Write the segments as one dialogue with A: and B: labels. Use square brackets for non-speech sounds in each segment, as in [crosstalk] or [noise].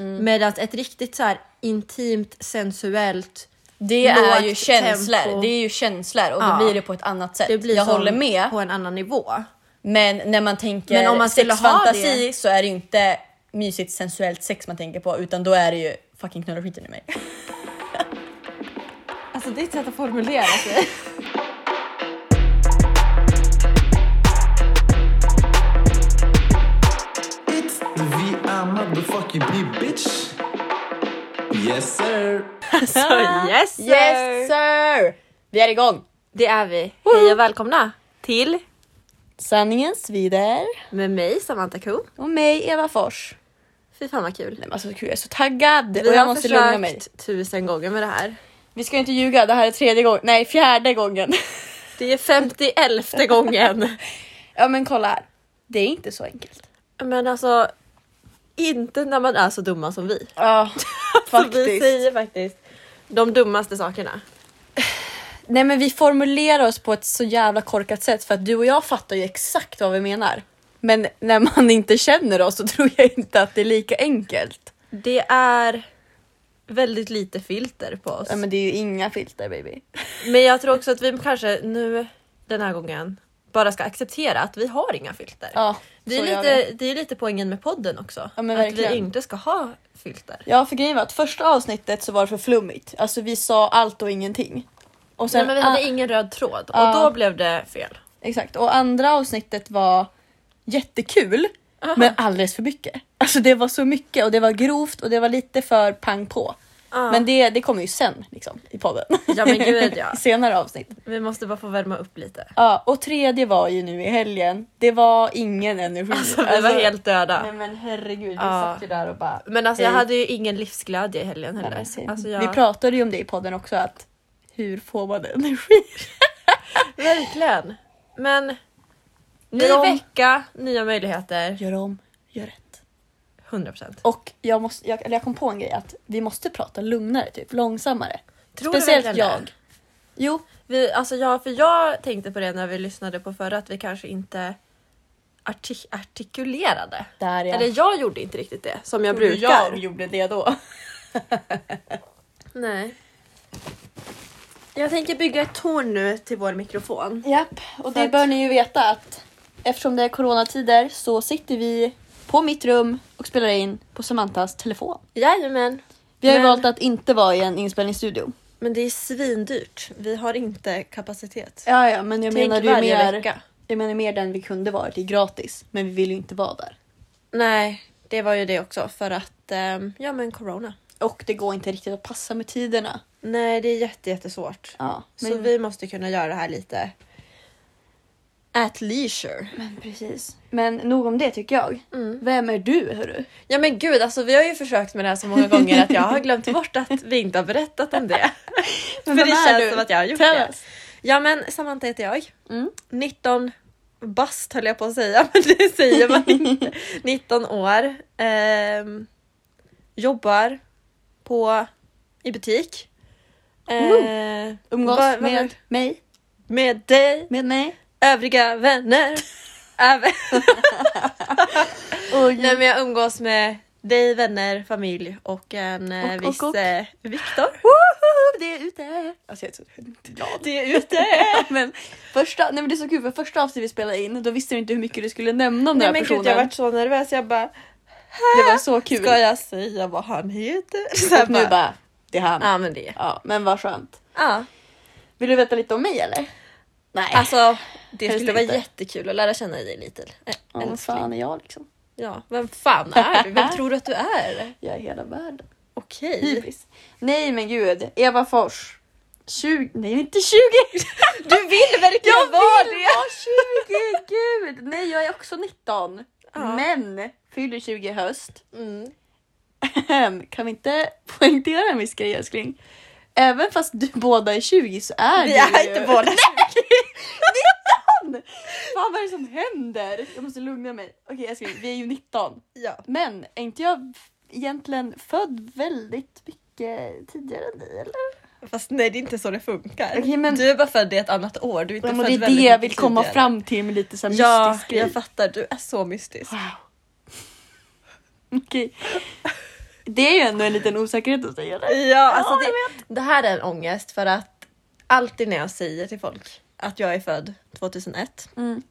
A: Mm.
B: Medan ett riktigt så här intimt, sensuellt,
A: Det är ju
B: Lågt
A: känslor.
B: tempo.
A: Det är ju känslor och
B: Ja.
A: då blir det på ett annat sätt.
B: det blir
A: Jag
B: som
A: håller med.
B: på en annan nivå.
A: Men när man tänker
B: Men om man skulle ha
A: sexfantasi så är det ju inte mysigt sensuellt sex man tänker på utan då är det ju fucking knulla skiten i mig.
B: Alltså det är ett sätt att formulera sig.
C: It's the VR motherfucking B, bitch. Yes, sir.
B: [laughs] Så yes sir!
A: Yes sir! Vi är igång!
B: [laughs] Det är vi. Hej och välkomna till
A: Sanningen svider.
B: med mig Samantha Kuhn.
A: Och mig Eva Fors.
B: Fy fan vad kul.
A: Nej, men alltså, gud, jag är så taggad och
B: Vi
A: jag
B: har
A: måste
B: försökt
A: lugna mig.
B: tusen gånger med det här.
A: Vi ska ju inte ljuga, det här är tredje gången, nej fjärde gången. [laughs]
B: Det är 51 gången.
A: ja men kolla här, det är inte så enkelt.
B: Men alltså, inte när man är så dumma som vi.
A: Ja,
B: Som vi
A: [laughs] faktiskt.
B: säger faktiskt de dummaste sakerna.
A: Nej men vi formulerar oss på ett så jävla korkat sätt för att du och jag fattar ju exakt vad vi menar. Men när man inte känner oss så tror jag inte att det är lika enkelt.
B: Det är väldigt lite filter på oss.
A: Ja, men det är ju inga filter baby.
B: Men jag tror också att vi kanske nu den här gången bara ska acceptera att vi har inga filter.
A: [laughs] Ja,
B: det, är
A: så gör
B: lite, det är lite poängen med podden också.
A: Ja, men
B: att
A: verkligen.
B: vi inte ska ha filter.
A: Ja för grejen var att första avsnittet så var det för flummigt. Alltså vi sa allt och ingenting. Och
B: Nej,
A: sen,
B: men vi hade
A: ah,
B: ingen röd tråd och
A: Ja.
B: då blev det fel.
A: exakt. Och andra avsnittet var jättekul men alldeles för mycket. Alltså det var så mycket och det var grovt och det var lite för pang på. Men det, det kommer ju sen liksom, i podden.
B: Ja, men gud, ja.
A: I [laughs] Senare avsnitt.
B: Vi måste bara få värma upp lite.
A: Ja, och tredje var ju nu i helgen. Det var ingen energi.
B: Alltså, vi var helt döda.
A: Nej men herregud, vi
B: Ja.
A: satt ju där och bara...
B: Men alltså jag
A: hej.
B: hade ju ingen livsglädje i helgen
A: Ja,
B: heller.
A: men se.
B: Alltså, jag...
A: Vi pratade ju om det i podden också, att hur får man energi?
B: Verkligen. Men ny
A: om.
B: vecka, nya möjligheter.
A: Gör om, gör rätt.
B: 100%.
A: Och jag, måste, jag, eller jag kom på en grej, att vi måste prata lugnare, typ långsammare.
B: Tror du
A: Speciellt
B: verkligen det?
A: jag. Jo,
B: Vi, alltså jag, för jag tänkte på det när vi lyssnade på förra att vi kanske inte arti- artikulerade.
A: där ja.
B: Eller jag gjorde inte riktigt det som jag
A: Tror du
B: brukar.
A: Jag gjorde det då.
B: Nej. Jag tänker bygga ett torn nu till vår mikrofon.
A: Japp, och
B: För
A: det
B: att-
A: bör ni ju veta att eftersom det är coronatider så sitter vi på mitt rum och spelar in på Samantas telefon.
B: Jajamän.
A: Vi har ju
B: Men-
A: valt att inte vara i en inspelningsstudio.
B: Men det är svindyrt. Vi har inte kapacitet.
A: Ja, ja, men jag
B: Tänk
A: menar ju
B: varje
A: mer,
B: vecka.
A: jag menar mer den vi kunde varit i gratis, men vi vill ju inte vara där.
B: Nej, det var ju det också för att ehm, ja men corona.
A: Och det går inte riktigt att passa med tiderna.
B: Nej, det är jätte, jättesvårt.
A: Ja,
B: Så vi måste kunna göra det här lite at leisure.
A: men precis. Men nog om det tycker jag. Vem är du hörru?
B: Ja men gud, alltså vi har ju försökt med det här så många gånger att jag
A: [laughs]
B: har glömt bort att vi inte har berättat om det. För
A: vem
B: det
A: är
B: känns
A: du?
B: som att jag har gjort
A: Tell
B: det.
A: us.
B: Ja men Samantha heter jag.
A: Mm.
B: 19 bast höll jag på att säga, [laughs] men det säger man
A: [laughs]
B: inte. 19 år. Ehm, jobbar på, i butik. Ehm,
A: Umgås
B: vad- vad var-
A: med mig,
B: med dig,
A: med mig.
B: övriga
A: [laughs]
B: vänner. Även...
A: Oj.
B: Nej men jag umgås med dig, vänner, familj och en eh,
A: Och- och-
B: viss
A: och.
B: eh, Viktor.
A: Woho, det är ute! Alltså jag är så hemskt glad.
B: Det är ute!
A: [laughs] men första, nej men det är så kul för första avsnittet vi spelade in då visste du inte hur mycket du skulle nämna om
B: Nej
A: den här
B: men
A: personen.
B: gud jag varit så nervös jag
A: Mm.
B: bara "Äh,
A: Det var så kul.
B: Ska jag säga vad han heter? Så
A: Och nu bara, det är han. Ja.
B: Ja men det.
A: men vad skönt.
B: Ja.
A: Vill du veta lite om mig eller? Nej.
B: Alltså det
A: Helst
B: skulle vara
A: Äh, inte.
B: jättekul att lära känna dig lite. Ä-
A: ja, vad
B: älskling.
A: fan är jag liksom?
B: Ja, vem fan är du? Vem tror du att du är?
A: Jag är hela världen.
B: Okej.
A: Hybris. Nej men gud, Eva Fors. 20, nej inte 20!
B: [laughs] Du vill verkligen
A: Jag
B: vara
A: vill
B: det!
A: [laughs] vara 20! Gud! Nej jag är också 19.
B: Ja.
A: Men fyller 20 i höst.
B: Mm.
A: Ehm, kan vi inte poängtera en viss grej älskling? Även fast du båda är 20 så är
B: Vi
A: du
B: är
A: ju...
B: inte båda
A: Fan vad är det som händer? Jag måste lugna mig. Okej älskling, vi är ju 19.
B: Ja.
A: Men är inte jag egentligen född väldigt mycket tidigare än dig eller?
B: Fast nej det är inte så det funkar.
A: Okej, men-
B: Du är bara född i ett annat år. Du är inte
A: Ja, men
B: född
A: Alltså, det är det
B: väldigt
A: jag
B: mycket
A: vill komma
B: tidigare.
A: fram till med lite så här
B: Ja,
A: mystisk grej.
B: jag fattar. Du är så mystisk.
A: Wow. Okej. Det är ju ändå en liten osäkerhet att säga det.
B: Ja, alltså det, det här är en ångest för att alltid när jag säger till folk att jag är född 2001
A: Mm.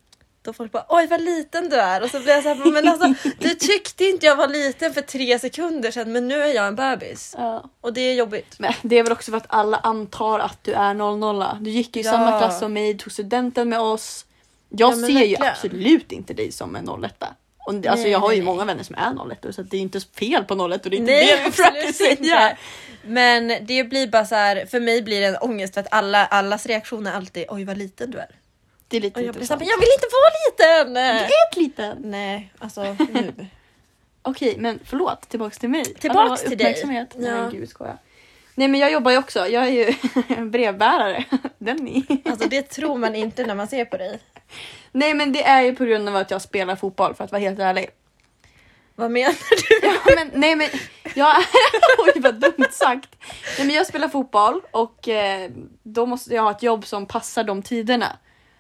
B: då folk bara oj vad liten du är och så blir jag såhär men alltså
A: [laughs]
B: du tyckte inte jag var liten för tre sekunder sedan men nu är jag en bebis
A: Ja.
B: och det är jobbigt.
A: Men det är väl också för att alla antar att du är 00. Du gick ju i
B: Ja.
A: samma klass som mig, tog studenten med oss.
B: Ja,
A: Jag ser
B: men
A: ju
B: verkligen.
A: absolut inte dig som en 01. Och, det- alltså,
B: Nej,
A: jag har ju
B: nej, nej.
A: många vänner som är 01 så att det är inte fel på 01 och det är inte
B: Nej
A: det vi försöker
B: [laughs] absolut inte.
A: säga.
B: Men det blir bara så här, för mig blir det en ångest för att alla, allas reaktion är alltid oj vad liten du är.
A: Det är lite
B: Och jag blir såhär
A: intressant.
B: men jag vill inte vara liten!
A: Du är ett liten.
B: Nej alltså nu.
A: Okej, men förlåt. Tillbaks till mig.
B: Tillbaks
A: Alla
B: till dig.
A: Uppmärksamhet. Nej,
B: Ja.
A: men gud skoja. Nej men jag jobbar ju också. Jag är ju [laughs] brevbärare. Den är.
B: Alltså det tror man inte när man ser på dig.
A: Nej men det är ju på grund av att jag spelar fotboll för att vara helt ärlig.
B: Vad menar du?
A: Ja, men, nej men jag... [laughs] Oj vad dumt sagt. Nej, men jag spelar fotboll och eh, då måste jag ha ett jobb som passar de tiderna.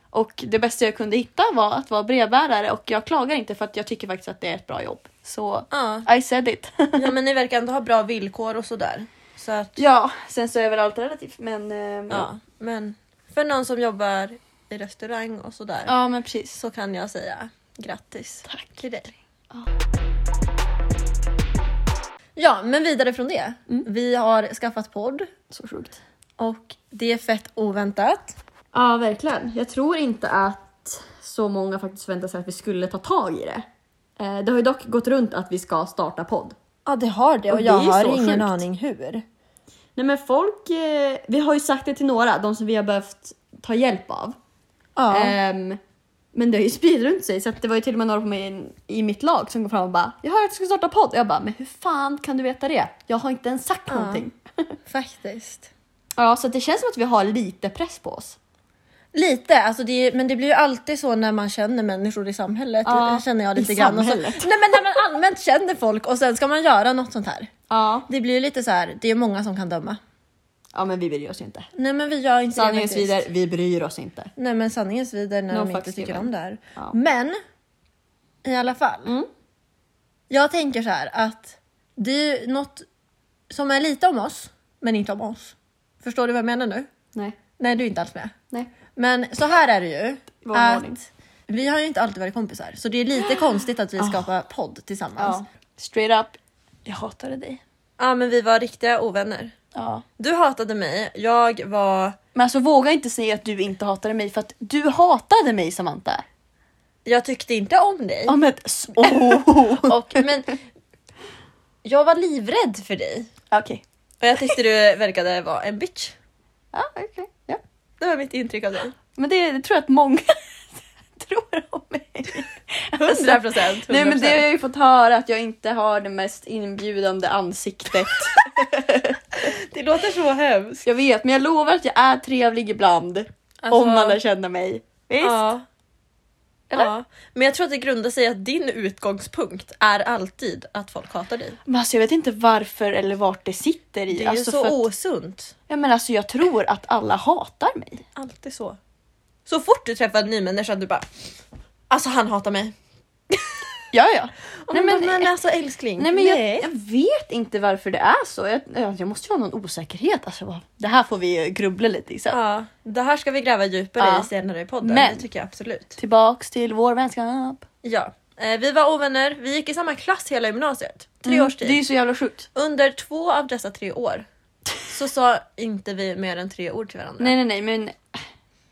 A: Och det bästa jag kunde hitta var att vara brevbärare och jag klagar inte för att jag tycker faktiskt att det är ett bra jobb. Så
B: Ja.
A: I said it. [laughs]
B: ja men ni verkar ändå ha bra villkor och sådär. Så att,
A: ja, sen så är väl allt relativt men... ehm,
B: ja. Men för någon som jobbar i restaurang och sådär
A: ja men precis.
B: så kan jag säga grattis
A: Tack.
B: till dig.
A: Ja.
B: Ja men vidare från det. Vi har skaffat podd
A: Så sjukt.
B: och det är fett oväntat.
A: Ja verkligen. Jag tror inte att så många faktiskt förväntade sig att vi skulle ta tag i det. Eh, Det har ju dock gått runt att vi ska starta podd.
B: Ja det har det och,
A: Och det
B: jag
A: är ju
B: har
A: så
B: ingen
A: sjukt.
B: aning hur.
A: Nej men folk, eh, vi har ju sagt det till några, de som vi har behövt ta hjälp av.
B: Ja.
A: Ehm, men det har ju spridit runt sig så att det var ju till och med några på min, i mitt lag som kom fram och bara “Jag hörde att du ska starta podd” och jag bara “Men hur fan kan du veta det? Jag har inte ens sagt någonting”.
B: Faktiskt.
A: Ja så att det känns som att vi har lite press på oss.
B: Lite, alltså det är, men det blir ju alltid så när man känner människor i samhället.
A: Ja,
B: det känner jag lite
A: i
B: grann. Och så, nej
A: samhället.
B: men när man allmänt känner folk och sen ska man göra något sånt här.
A: Ja.
B: Det blir ju lite så här, det är många som kan döma.
A: Ja men vi bryr oss ju inte.
B: Nej men vi gör inte det
A: Sanningen
B: faktiskt.
A: svider, vi bryr oss inte.
B: Nej men sanningen svider när
A: No
B: de inte
A: fucks
B: tycker
A: given.
B: om det här.
A: Ja.
B: Men, i alla fall.
A: Mm.
B: Jag tänker så här att det är ju något som är lite om oss, men inte om oss. Förstår du vad jag menar nu?
A: Nej.
B: Nej, du är inte alls med.
A: Nej.
B: Men så här är det ju.
A: Det var en varning.
B: Att vi har ju inte alltid varit kompisar så det är [gasps] lite konstigt att vi skapar podd tillsammans.
A: Ja. Straight up. Jag hatade dig.
B: ja men vi var riktiga ovänner.
A: Ja.
B: Du hatade mig, jag var...
A: Men alltså våga inte säga att du inte hatade mig för att du hatade mig Samantha.
B: Jag tyckte inte om dig.
A: Ja men [laughs] s- åh.
B: Och, men jag var livrädd för dig.
A: Okej.
B: Och jag tyckte du verkade vara en bitch.
A: Ja, okej. Ja.
B: Det var mitt intryck av dig.
A: Men det, det tror jag att många [laughs] tror om mig.
B: 100 procent.
A: Nej men det har jag ju fått höra att jag inte har det mest inbjudande ansiktet.
B: det låter så hemskt.
A: Jag vet men jag lovar att jag är trevlig ibland.
B: Alltså-
A: Om man lär känna mig. Visst?
B: Ja.
A: Eller?
B: ja. Men jag tror att det grundar sig i att din utgångspunkt är alltid att folk hatar dig.
A: Men alltså jag vet inte varför eller vart det sitter i.
B: Det är
A: alltså,
B: ju så
A: för att,
B: osunt.
A: ja, men alltså jag tror att alla hatar mig.
B: Alltid så. Så fort du träffar en ny människa du bara Alltså han hatar mig.
A: Ja ja.
B: Nej, men,
A: men-
B: men alltså älskling.
A: Nej men jag, jag vet inte varför det är så. Jag, jag jag måste ju ha någon osäkerhet. Alltså, vad- det här får vi grubbla lite i sen.
B: Ja, det här ska vi gräva djupare
A: Ja.
B: i senare i podden.
A: Men-
B: Det tycker jag absolut.
A: Tillbaks till vår vänskap.
B: Ja. Eh, vi var ovänner, vi gick i samma klass hela gymnasiet. Tre års tid.
A: Mm, Det är ju så jävla sjukt.
B: Under två av dessa tre år så sa inte vi mer än tre ord till varandra.
A: Nej nej nej men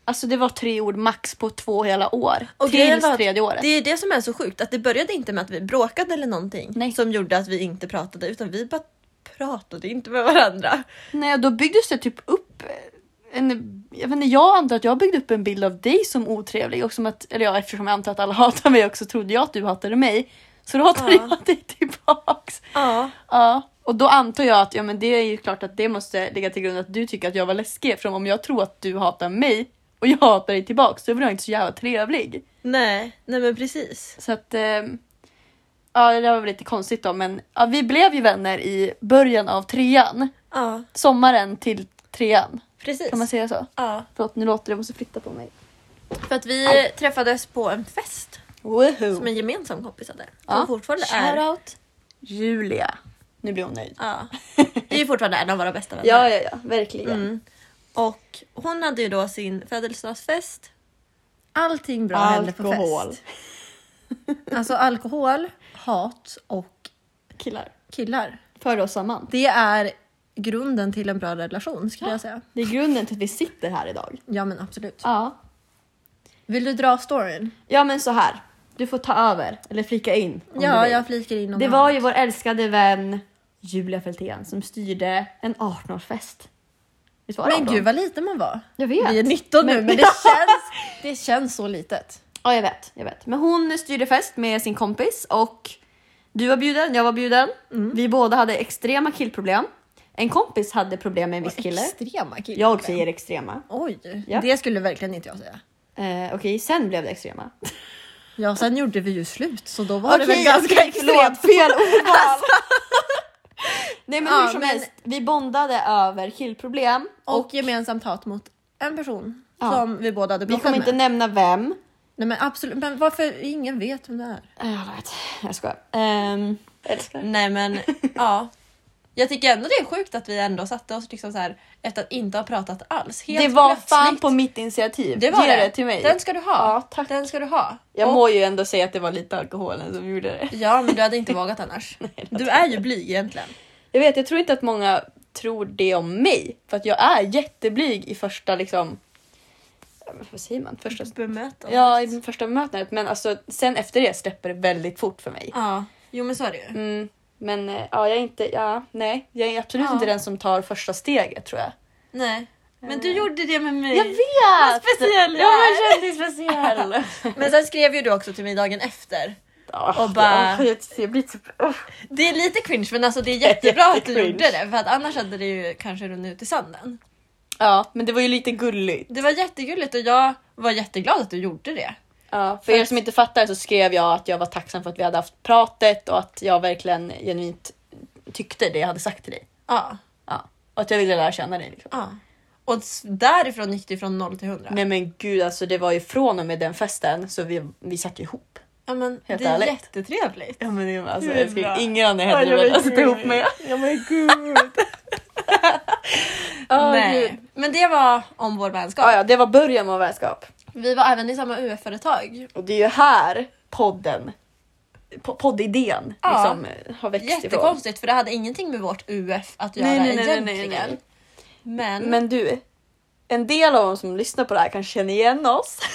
A: alltså det var tre ord max på två hela år.
B: Och grejen
A: Tills
B: var att
A: tredje året.
B: Det är det som är så sjukt, att det började inte med att vi bråkade eller någonting
A: Nej.
B: som gjorde att vi inte pratade utan vi bara pratade inte med varandra.
A: Nej och då byggdes det typ upp en, jag, vet inte, jag antar att jag byggde upp en bild av dig som otrevlig och som att, eller ja eftersom jag antar att alla [laughs] hatar mig också trodde jag att du hatade mig. Så då hatade
B: Ja.
A: jag dig tillbaks.
B: Ja.
A: Ja, och då antar jag att ja, men det är ju klart att det måste ligga till grund att du tycker att jag var läskig. Eftersom om jag tror att du hatar mig och jag hatar dig tillbaks då blir jag inte så jävla trevlig.
B: Nej, nej men precis.
A: Så att ehm, ja, det där var väl lite konstigt då. Men ja, vi blev ju vänner i början av trean.
B: Ja,
A: Sommaren till trean.
B: precis.
A: Kan man säga så?
B: Ja,
A: Förlåt, nu låter det. Jag måste flytta på mig.
B: för att vi träffades på en fest som
A: Woho!
B: en gemensam kompis hade. Som
A: Ja.
B: fortfarande är
A: Shoutout Julia. Nu blir hon nöjd.
B: Ja. Det är ju fortfarande en av våra bästa vänner.
A: [laughs] Ja, ja, ja, verkligen.
B: Mm. Och hon hade ju då sin födelsedagsfest. Allting bra hände på
A: Alkohol.
B: fest. Alltså alkohol, hat och
A: Killar.
B: killar.
A: För oss samman.
B: Det är grunden till en bra relation skulle jag säga.
A: Det är grunden till att vi sitter här idag.
B: Ja men absolut.
A: Ja.
B: Vill du dra storyn?
A: Ja men så här. Du får ta över, eller flika in. om du
B: Ja,
A: vill.
B: jag flikar in någon
A: Det var
B: annan.
A: ju vår älskade vän Julia Fältén som styrde en 18-årsfest. Visst var det
B: Men
A: 18?
B: gud vad liten man var.
A: Jag vet.
B: Vi är 19 nu [laughs]
A: Men-
B: men det känns, det känns så litet.
A: Ja, jag vet, jag vet. Men hon styrde fest med sin kompis och du var bjuden, jag var bjuden.
B: Mm.
A: Vi båda hade extrema killproblem. En kompis hade problem med en viss kille.
B: Extrema killar.
A: Jag säger extrema.
B: Oj,
A: Ja.
B: det skulle verkligen inte jag säga.
A: Eh, Okej, sen blev det extrema.
B: Ja, sen gjorde vi ju slut så då var det väl
A: Okej,
B: ganska
A: okej,
B: extremt. [laughs] Alltså.
A: Fel ordval. Nej men hur
B: Ja,
A: som
B: men-
A: helst, vi bondade över killproblem. Och,
B: Och gemensamt hat mot en person
A: Ja.
B: som vi båda hade
A: vi
B: bråkat
A: kommer
B: med.
A: inte nämna vem.
B: Nej men absolut, men varför ingen vet vem det är?
A: Eh, Jag vet, jag skojar. Um, Älskar.
B: Nej
A: [laughs]
B: men [laughs] ja. Jag tycker ändå det är sjukt att vi ändå satte oss liksom så här efter att inte ha pratat alls. Helt
A: Det var
B: plötsligt.
A: fan på mitt initiativ.
B: det var
A: Ge
B: det.
A: det. till mig.
B: Den ska du ha.
A: Ja, tack.
B: Den ska du ha.
A: Jag
B: Och-
A: må ju ändå säga att det var lite alkoholen som gjorde det.
B: Ja men du hade [laughs] inte vågat annars. du är ju blyg egentligen.
A: Jag vet, jag tror inte att många tror det om mig. För att jag är jätteblyg i första liksom... Vad säger man? Första...
B: Bemötande.
A: Ja, i den första mötet. Men alltså, sen efter det släpper det väldigt fort för mig.
B: ja. Jo men så är det ju.
A: Mm, men eh, ja, jag är inte... Ja, nej. Jag är absolut
B: Ja.
A: inte den som tar första steget tror jag.
B: Nej. Men du gjorde det med mig.
A: Eh. Jag vet!
B: speciell jag
A: Ja, men
B: är.
A: jag kände mig speciell.
B: Men sen skrev ju du också till mig dagen efter.
A: Ja,
B: Och bara-
A: ja, jag, jag blir typ... åh.
B: Det är lite cringe men alltså det
A: [laughs]
B: är jättebra att du
A: Jättecringe.
B: gjorde det för att annars hade det ju kanske runnit ut i sanden.
A: Ja, men det var ju lite gulligt.
B: Det var jättegulligt och jag var jätteglad att du gjorde det.
A: Ja, för er som inte fattar så skrev jag att jag var tacksam för att vi hade haft pratet och att jag verkligen genuint tyckte det jag hade sagt till dig.
B: Ja.
A: Ja. Och att jag ville lära känna dig. Liksom.
B: ja. Och s- därifrån gick det från 0 till 100.
A: Nej men gud, alltså det var ju från och med den festen så vi, vi satt ju ihop.
B: ja, men,
A: Helt
B: det är
A: ärligt.
B: jättetrevligt.
A: Ja men det var alltså,
B: Hur
A: jag skulle,
B: bra.
A: ingen annan hade jag velat sitta ihop med.
B: Ja men gud.
A: Åh,
B: Nej.
A: gud.
B: Men det var om vår vänskap.
A: Ja, ja, det var början av vänskap.
B: Vi var även i samma UF-företag.
A: Och det är ju här podden, po- poddidén,
B: Ja.
A: liksom, eh, har växt ifrån.
B: Jättekonstigt för det hade ingenting med vårt UF att göra
A: Nej, nej, nej, nej,
B: egentligen.
A: nej, nej.
B: Men,
A: Men du, en del av dem som lyssnar på det här kanske känner igen oss. [laughs]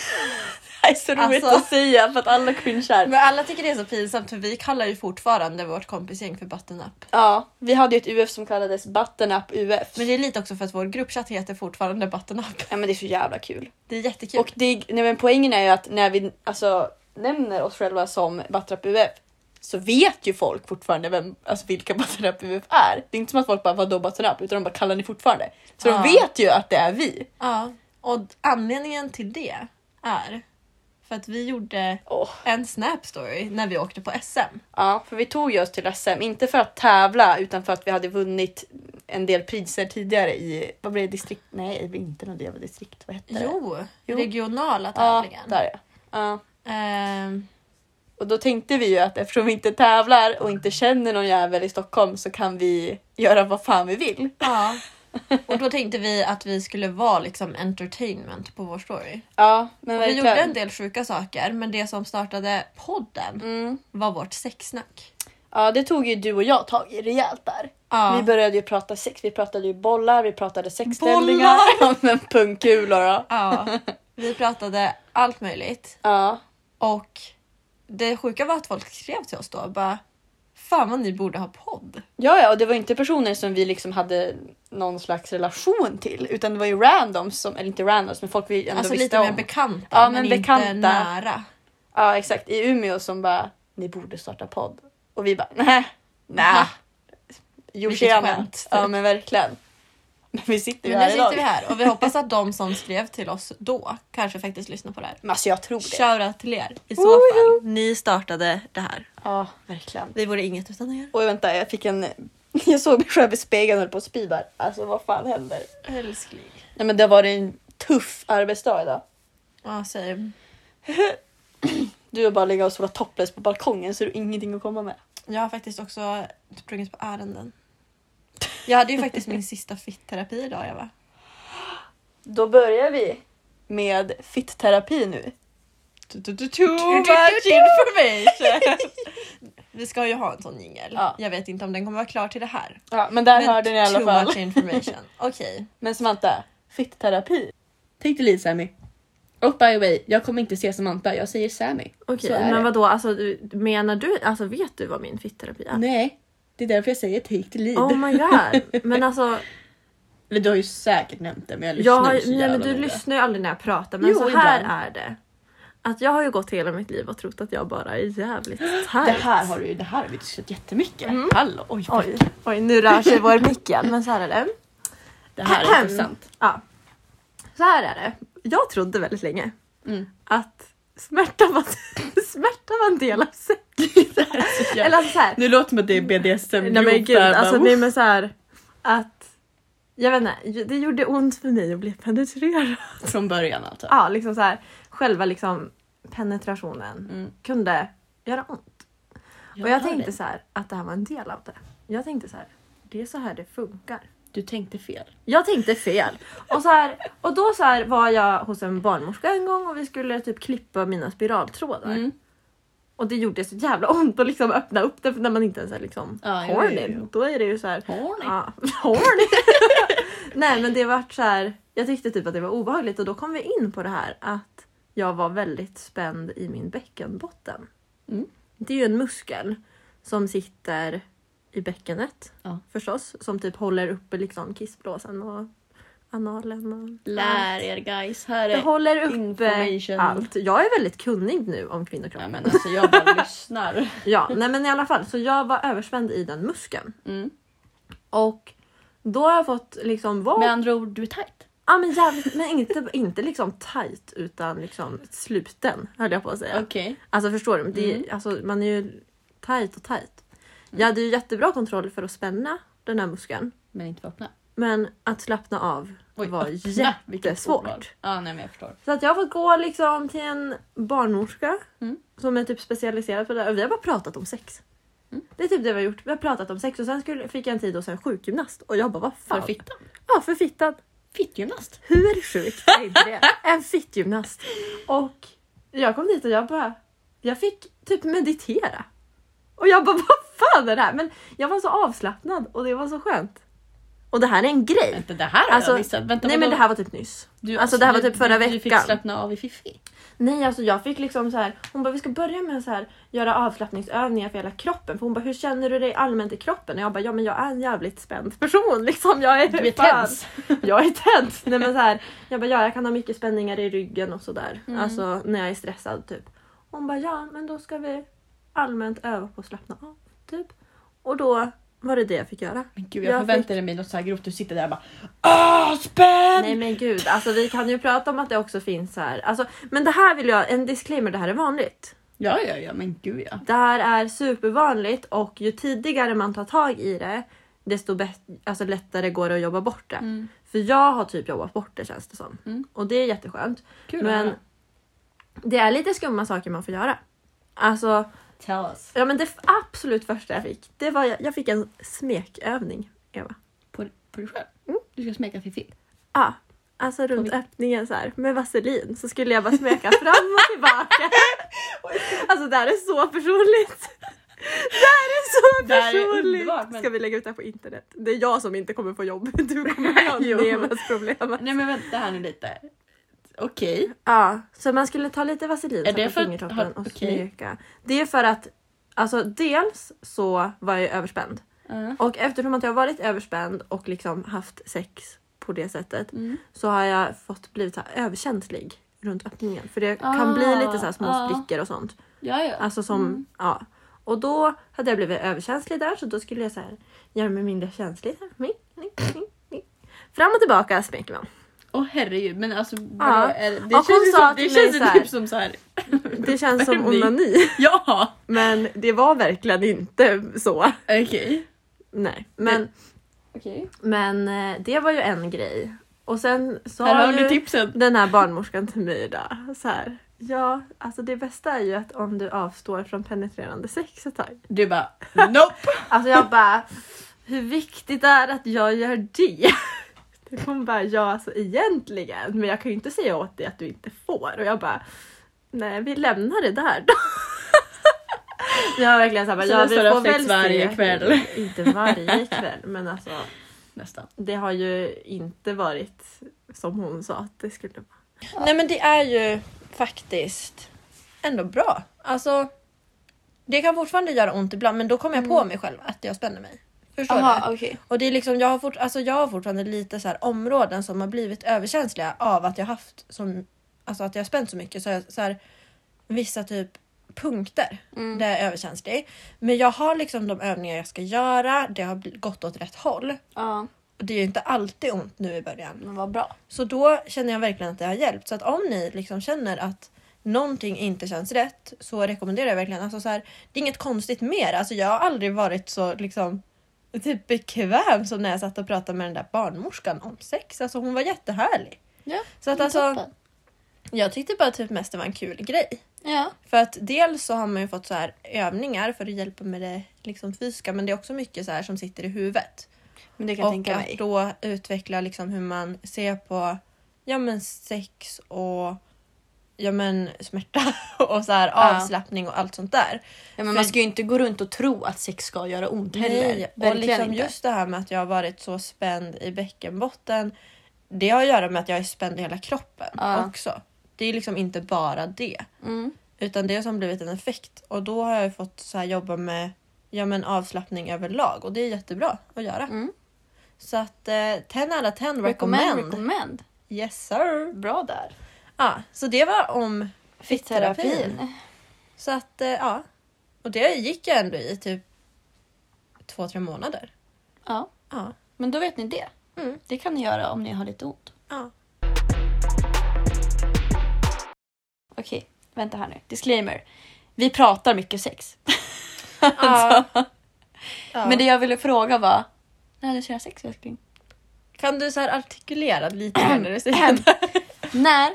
A: Det här är så roligt
B: Alltså.
A: att säga för att alla cringear.
B: men alla tycker det är så pinsamt för vi kallar ju fortfarande vårt kompisgäng för button up.
A: Ja, vi hade ju ett UF som kallades Button Up UF.
B: Men det är lite också för att vår gruppchatt heter fortfarande button up.
A: Ja men det är så jävla kul.
B: Det är jättekul.
A: Och det, nej, men poängen är ju att när vi alltså, nämner oss själva som Button Up UF så vet ju folk fortfarande vem, alltså vilka Button Up UF är. Det är inte som att folk bara vadå Button Up utan de bara kallar ni fortfarande. Så
B: Ja.
A: de vet ju att det är vi.
B: Ja, och anledningen till det är för att vi gjorde
A: Åh.
B: en snap story när vi åkte på SM.
A: Ja, för vi tog ju oss till SM, inte för att tävla utan för att vi hade vunnit en del priser tidigare i, vad blev det, distrikt? Nej, det blev inte något jävla distrikt, vad hette det?
B: Jo,
A: Eh, Jo.
B: regionala
A: ja,
B: tävlingen.
A: där ja. ja.
B: Ehm,
A: Och då tänkte vi ju att eftersom vi inte tävlar och inte känner någon jävel i Stockholm så kan vi göra vad fan vi vill. [laughs]
B: ja. Och då tänkte vi att vi skulle vara liksom entertainment på vår story.
A: Ja, men
B: Och vi gjorde en
A: verkligen.
B: del sjuka saker men det som startade podden
A: Mm.
B: var vårt sexsnack.
A: Ja, det tog ju du och jag tag i rejält där.
B: Ja.
A: [laughs] Vi började ju prata sex, vi pratade ju bollar, vi pratade sexställningar.
B: Bollar!
A: [laughs] Ja, men pungkulor då.
B: Ja, vi pratade allt möjligt.
A: Ja.
B: Och det sjuka var att folk skrev till oss då bara Fan vad ni borde ha podd.
A: Ja, ja, och det var inte personer som vi liksom hade någon slags relation till, utan det var ju randoms, som, eller inte randoms, men folk vi ändå
B: Alltså
A: visste
B: lite mer
A: om.
B: bekanta
A: Ja,
B: men,
A: men
B: inte
A: bekanta.
B: nära.
A: ja, exakt. I Umeå som bara, ni borde starta podd. Och vi bara, nej, nej. Jo,
B: Vilket
A: tjena.
B: skämt.
A: Ja, men verkligen. [laughs] Men vi sitter ju
B: Men nu
A: här
B: sitter
A: idag.
B: vi här
A: [laughs]
B: och vi hoppas att de som skrev till oss då kanske faktiskt lyssnar på det här.
A: Men alltså jag tror det.
B: Shoutout till er i så
A: Woho!
B: fall. Ni startade det här.
A: Ja, verkligen.
B: Vi vore inget utan er.
A: Oj, vänta, jag fick en... [laughs] Jag såg mig själv i spegeln och höll på att spy där. Alltså vad fan händer?
B: Älskling.
A: Nej, men det har varit en tuff arbetsdag idag.
B: Ja, säg.
A: Du har bara legat och solat topless på balkongen så du har ingenting att komma med.
B: Jag har faktiskt också sprungit på ärenden. Jag hade ju faktiskt min sista fitterapi idag Eva.
A: Då börjar vi med fitt-terapi nu.
B: Too much information! [laughs] Vi ska ju ha en sån jingel.
A: Ja.
B: Jag vet inte om den kommer vara klar till det här.
A: Ja, men där
B: Men
A: hörde ni i alla
B: too
A: fall.
B: much
A: [laughs]
B: information. Okej.
A: Men Samantha, fitt-terapi. Tänk dig lite Sammy. Och by the way, jag kommer inte se Samantha, jag säger Sammy.
B: Okej,
A: Så är
B: men
A: det.
B: vadå, alltså, du- menar du, alltså vet du vad min fitterapi är?
A: Nej, det är därför jag säger take the lead.
B: Oh my god. Men alltså,
A: [laughs] Men du har ju säkert nämnt det men jag lyssnar
B: jag har,
A: ju så
B: nej, men
A: jävla
B: du
A: noga.
B: lyssnar ju aldrig när jag pratar men
A: Jo,
B: så här
A: ibland.
B: är det. Att jag har ju gått hela mitt liv och trott att jag bara är jävligt
A: Det
B: tajt.
A: här har du ju, det här har vi diskuterat jättemycket. Hallå, oj,
B: Mm. Oj, oj, nu rör sig vår mick igen men så här är det.
A: Det här
B: [laughs]
A: är intressant.
B: Ja. Så här är det. Jag trodde väldigt länge
A: Mm.
B: att smärta var, [laughs] smärta var en del av sex. Eller alltså så här,
A: Nu låter det som att det är BDSM.
B: Nej men
A: grov
B: gud,
A: där,
B: alltså
A: bara,
B: nej
A: uff.
B: men såhär att jag vet inte, det gjorde ont för mig att bli penetrerad.
A: Från början alltså.
B: Ja, [laughs] liksom så här, själva liksom penetrationen
A: Mm.
B: kunde göra ont. och
A: hör
B: jag tänkte
A: dig.
B: så här att det här var en del av det. Jag tänkte så här, det är så här det funkar.
A: Du tänkte fel.
B: Jag tänkte fel. Och, så här, och då så här var jag hos en barnmorska en gång och vi skulle typ klippa mina spiraltrådar.
A: Mm.
B: Och det gjorde så jävla ont att liksom öppna upp det för när man inte ens är liksom
A: Ja, jo,
B: horny.
A: jo, jo.
B: Då är det ju så här.
A: Horny.
B: Ja, [laughs] horny. Nej men det vart så här. Jag tyckte typ att det var obehagligt och då kom vi in på det här att jag var väldigt spänd i min bäckenbotten.
A: Mm.
B: Det är ju en muskel som sitter i bäckenet
A: Ja.
B: förstås. Som typ håller uppe liksom kissblåsan och analen. Och
A: Lär er guys, här
B: Det
A: är...
B: håller uppe
A: Information.
B: allt. Jag är väldigt kunnig nu om kvinnokroppen.
A: Ja, men alltså jag bara lyssnar.
B: Ja, nej men i alla fall. Så jag var överspänd i den muskeln.
A: Mm.
B: Och då har jag fått liksom vara...
A: [laughs] Med
B: Men...
A: andra ord, du är tajt.
B: Ja, men, jävligt, men inte, inte liksom tight utan liksom sluten höll jag på att säga.
A: Okej. Mm.
B: Alltså förstår du? Det är, alltså, man är ju tight och tight. Jag hade ju jättebra kontroll för att spänna den här muskeln.
A: Men inte vara öppna.
B: Men att slappna av var
A: öppna, vilket ordval.
B: jättesvårt.
A: Ja, nej men jag förstår.
B: Så att jag har fått gå liksom till en barnmorska
A: Mm.
B: som är typ specialiserad på det här. Och vi har bara pratat om sex.
A: Mm.
B: Det är typ det vi har gjort. Vi har pratat om sex och sen skulle, fick jag en tid hos en sjukgymnast och jag bara vad
A: För
B: fan.
A: fittan.
B: Ja, för fittan.
A: Fittgymnast.
B: Hur sjukt är inte
A: [laughs]
B: det? En fittgymnast. Och jag kom dit och jag bara, jag fick typ meditera. Och jag bara [laughs] vad fan är det här? Men jag var så avslappnad och det var så skönt. Och det här är en grej.
A: Vänta, det här har
B: Alltså,
A: jag missat. Vänta,
B: Nej men
A: vadå?
B: det här var typ nyss. alltså det här var typ förra
A: du, Du
B: veckan.
A: fick slappna av i fiffi.
B: Nej, alltså jag fick liksom så här. Hon bara, vi ska börja med så här göra avslappningsövningar för hela kroppen. För hon bara, hur känner du dig allmänt i kroppen? Och jag bara, ja men jag är en jävligt spänd person [laughs] liksom. Jag är,
A: Du är
B: fan,
A: tens.
B: [laughs] Jag är tens. Nej men så här, jag bara, ja jag kan ha mycket spänningar i ryggen och sådär.
A: Mm.
B: Alltså när jag är stressad typ. Hon bara, ja men då ska vi allmänt öva på att slappna av typ. Och då var det det jag fick göra.
A: Men gud, jag,
B: Jag
A: förväntade mig något så här grovt. Du sitter där och bara Åh, spänd!
B: Nej men gud, alltså vi kan ju prata om att det också finns så här. Alltså, men det här vill jag, en disclaimer, det här är vanligt.
A: Ja, ja, ja, men gud ja.
B: Det här är supervanligt och ju tidigare man tar tag i det desto bäst- alltså lättare går det att jobba bort det. För jag har typ jobbat bort det känns det som. Och det är jätteskönt.
A: Kul att
B: Men
A: höra.
B: det är lite skumma saker man får göra. Alltså,
A: Tell us.
B: ja men det f- absolut första jag fick, det var jag, jag fick en smekövning, Eva.
A: På, på dig själv.
B: Mm.
A: Du ska smeka fiffi.
B: Ja, alltså runt öppningen så här med vaselin så skulle jag bara smeka fram och
A: [laughs]
B: tillbaka. Alltså det här är så personligt. Det här är så
A: Det här är
B: personligt.
A: underbart, men-
B: Ska vi lägga ut det här på internet? Det är jag som inte kommer få jobb. [laughs] Du kommer
A: [laughs]
B: ha
A: Jo.
B: Nevas problem.
A: Nej men vänta här nu lite. Okej.
B: Ja, så man skulle ta lite vaselin
A: Är
B: så
A: det
B: på
A: för att-
B: fingertoppen
A: har-
B: och
A: okej.
B: smeka. Det är för att alltså dels så var jag överspänd
A: Ja.
B: och eftersom att jag har varit överspänd och liksom haft sex på det sättet
A: Mm.
B: så har jag fått blivit så här överkänslig runt öppningen för det
A: Ah,
B: kan bli lite så här små
A: ah. Mm.
B: sprickor och sånt.
A: Ja, ja.
B: Alltså som, ja. Och då hade jag blivit överkänslig där så då skulle jag så här göra mig mindre känslig. här. Nick, nick, nick, nick. Fram och tillbaka smeker man.
A: Åh herregud, men alltså
B: Ja.
A: vadå, är det, det
B: Och hon
A: känns, ju
B: sa
A: som,
B: till
A: det
B: mig
A: känns
B: så
A: ju
B: här-
A: typ som så här.
B: Det
A: [laughs]
B: känns som
A: Värmning.
B: onani.
A: Ja!
B: Men det var verkligen inte så.
A: Okej.
B: Nej. Men,
A: Okej.
B: men eh, det var ju en grej. Och sen
A: Här
B: sa
A: har ni
B: ju
A: tipsen.
B: den här barnmorskan till mig idag så här. Ja, alltså det bästa är ju att om du avstår från penetrerande sex ett tag.
A: Du bara nope!
B: Alltså jag bara, hur viktigt är det att jag gör det? Det kom bara, ja alltså egentligen, men jag kan ju inte säga åt dig att du inte får. Och jag bara, nej vi lämnar det där då. Jag var verkligen såhär,
A: Så
B: ja vi
A: nästa
B: får
A: reflex
B: väl se.
A: varje kväll.
B: Inte varje kväll, men alltså
A: Nästan.
B: det har ju inte varit som hon sa att det skulle vara. Nej men det är ju faktiskt ändå bra. Alltså det kan fortfarande göra ont ibland men då kommer jag på mig själv att jag spänner mig. Förstår du?
A: Jaha okej.
B: Och det är liksom, jag, har fort, alltså jag har fortfarande lite så här områden som har blivit överkänsliga av att jag haft som, alltså att jag har spänt så mycket. Så, jag, så här, vissa typ punkter där jag är överkänslig. Men jag har liksom de övningar jag ska göra, det har bl- gått åt rätt håll.
A: Ja,
B: Och det är ju inte alltid ont nu i början.
A: men vad bra.
B: Så då känner jag verkligen att det har hjälpt. Så att om ni liksom känner att någonting inte känns rätt så rekommenderar jag verkligen. Alltså så här, det är inget konstigt mer. Alltså jag har aldrig varit så liksom typ bekväm som när jag satt och pratade med den där barnmorskan om sex. Alltså hon var jättehärlig.
A: Ja,
B: Så att
A: men
B: alltså,
A: toppen.
B: jag tyckte bara typ mest det var en kul grej.
A: Ja.
B: För att dels så har man ju fått så här övningar för att hjälpa med det liksom fysiska men det är också mycket så här som sitter i huvudet.
A: Men det kan jag
B: Och
A: tänka
B: att
A: mig.
B: då utveckla liksom hur man ser på ja, men sex och ja, men smärta [laughs] och så här,
A: Ja.
B: avslappning och allt sånt där.
A: Ja, men man ska ju inte gå runt och tro att sex ska göra ont heller.
B: Nej, och
A: Verkligen
B: liksom
A: inte.
B: just det här med att jag har varit så spänd i bäckenbotten. Det har att göra med att jag är spänd i hela kroppen
A: Ja.
B: också. Det är liksom inte bara det.
A: Mm.
B: Utan det har som blivit en effekt. Och då har jag ju fått så här jobba med ja, men avslappning överlag. Och det är jättebra att göra.
A: Mm.
B: Så att eh, 10 out of 10
A: Recommend.
B: recommend.
A: recommend.
B: Yes sir!
A: Bra där.
B: Ja, så det var om fitterapin.
A: Fitterapin.
B: Så att eh, ja. Och det gick jag ändå i typ två, tre månader.
A: Ja,
B: Ja.
A: men då vet ni det.
B: Mm.
A: Det kan ni göra om ni har lite ont.
B: ja.
A: Okej, vänta här nu. Disclaimer. Vi pratar mycket sex. [laughs] Alltså.
B: Ja. ja.
A: Men det jag ville fråga var, när du köra sex älskling?
B: Kan du så här artikulera lite mer när du [clears throat] säger det?
A: När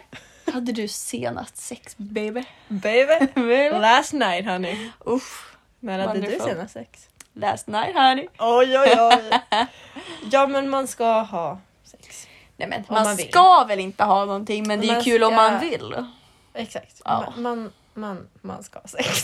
A: hade du senast sex baby?
B: Baby!
A: Well,
B: Last night honey.
A: Uff,
B: När hade du
A: Wonderful.
B: senast sex?
A: last night honey.
B: Oj oj oj. [laughs] Ja men man ska ha sex.
A: Nej, men,
B: Om
A: man,
B: man vill.
A: ska väl inte ha någonting men det är
B: Man
A: ju kul om
B: ska-
A: man vill.
B: Exakt.
A: Ja.
B: Man, man, man, man ska ha sex.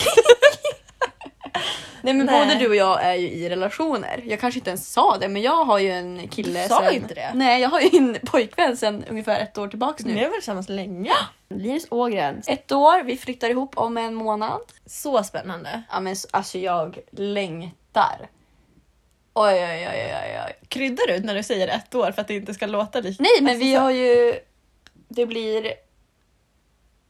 A: Nej men
B: Nej.
A: både du och jag är ju i relationer. Jag kanske inte ens sa det men jag har ju en kille
B: Du sa
A: sen...
B: inte det.
A: Nej jag har ju en [laughs] pojkvän sen ungefär ett år tillbaks
B: Ni
A: nu.
B: har varit tillsammans länge.
A: Linus Ågren. Ett år, vi flyttar ihop om en månad.
B: Så spännande.
A: Ja men s- alltså jag längtar. Oj oj oj oj oj.
B: Kryddar du när du säger ett år för att det inte ska låta lika?
A: Nej men vi
B: Alltså,
A: har ju... Det blir...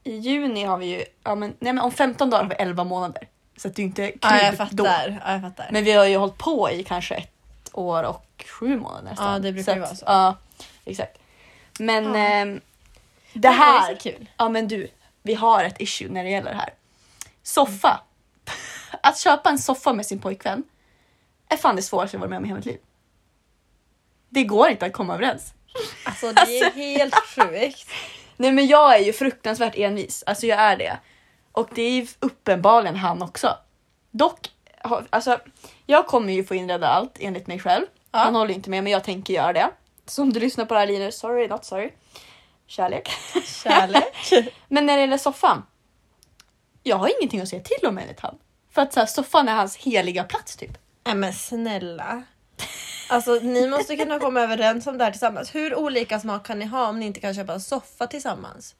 A: I juni har vi ju... Ja, men, nej men om 15 dagar har vi 11 månader. Så att det är inte kul
B: Ja, jag
A: då.
B: fattar. Ja, jag fattar.
A: Men vi har ju hållit på i kanske ett år och sju månader nästan.
B: Ja, det brukar
A: att-
B: ju vara så.
A: Ja, exakt. Men
B: Ja.
A: ehm, det här...
B: kul.
A: Ja men du, vi har ett issue när det gäller det här. Soffa. [laughs] Att köpa en soffa med sin pojkvän är fan det svåraste jag varit med om i hela mitt liv. Det går inte att komma överens.
B: Alltså det är helt sjukt.
A: Nej men jag är ju fruktansvärt envis, alltså jag är det. Och det är ju uppenbarligen han också. Dock, har- alltså jag kommer ju få inreda allt enligt mig själv.
B: Ja.
A: Han håller ju inte med men jag tänker göra det. Så om du lyssnar på det här Linus, sorry not sorry. Kärlek. [laughs]
B: Kärlek. [laughs]
A: Men när det gäller soffan. Jag har ingenting att säga till om enligt han. För att så här, soffan är hans heliga plats typ.
B: Nej men snälla. Alltså ni måste kunna komma överens om det här tillsammans. Hur olika smak kan ni ha om ni inte kan köpa en soffa tillsammans?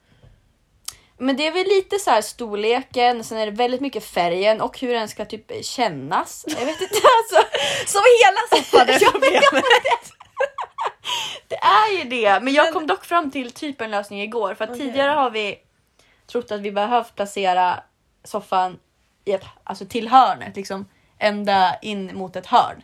A: Men det är väl lite så här storleken, sen är det väldigt mycket färgen och hur den ska typ kännas. Jag vet inte alltså.
B: Som hela soffan [laughs] är problemet.
A: Det är ju det, men jag kom dock fram till typ en lösning igår för att
B: Okej.
A: tidigare har vi trott att vi behövt placera soffan i ett, alltså till hörnet, liksom ända in mot ett hörn.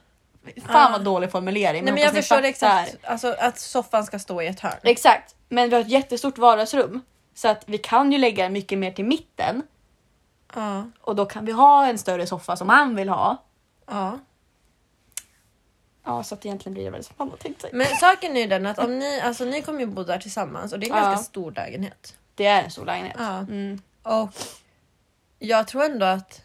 A: Fan
B: Ah.
A: vad dålig formulering.
B: Nej men
A: hoppas
B: jag
A: ni
B: förstår
A: fattar.
B: exakt. Alltså att soffan ska stå i ett hörn.
A: Exakt, men vi har ett jättestort vardagsrum så att vi kan ju lägga den mycket mer till mitten
B: Ja.
A: och då kan vi ha en större soffa som han vill ha.
B: ja.
A: Ja, så att egentligen blir det väl som han har tänkt sig.
B: Men saken är ju den att om ni, alltså ni kommer ju bo där tillsammans och det är en
A: Ja.
B: ganska stor lägenhet.
A: Det är en stor lägenhet.
B: Ja.
A: Mm.
B: Och jag tror ändå att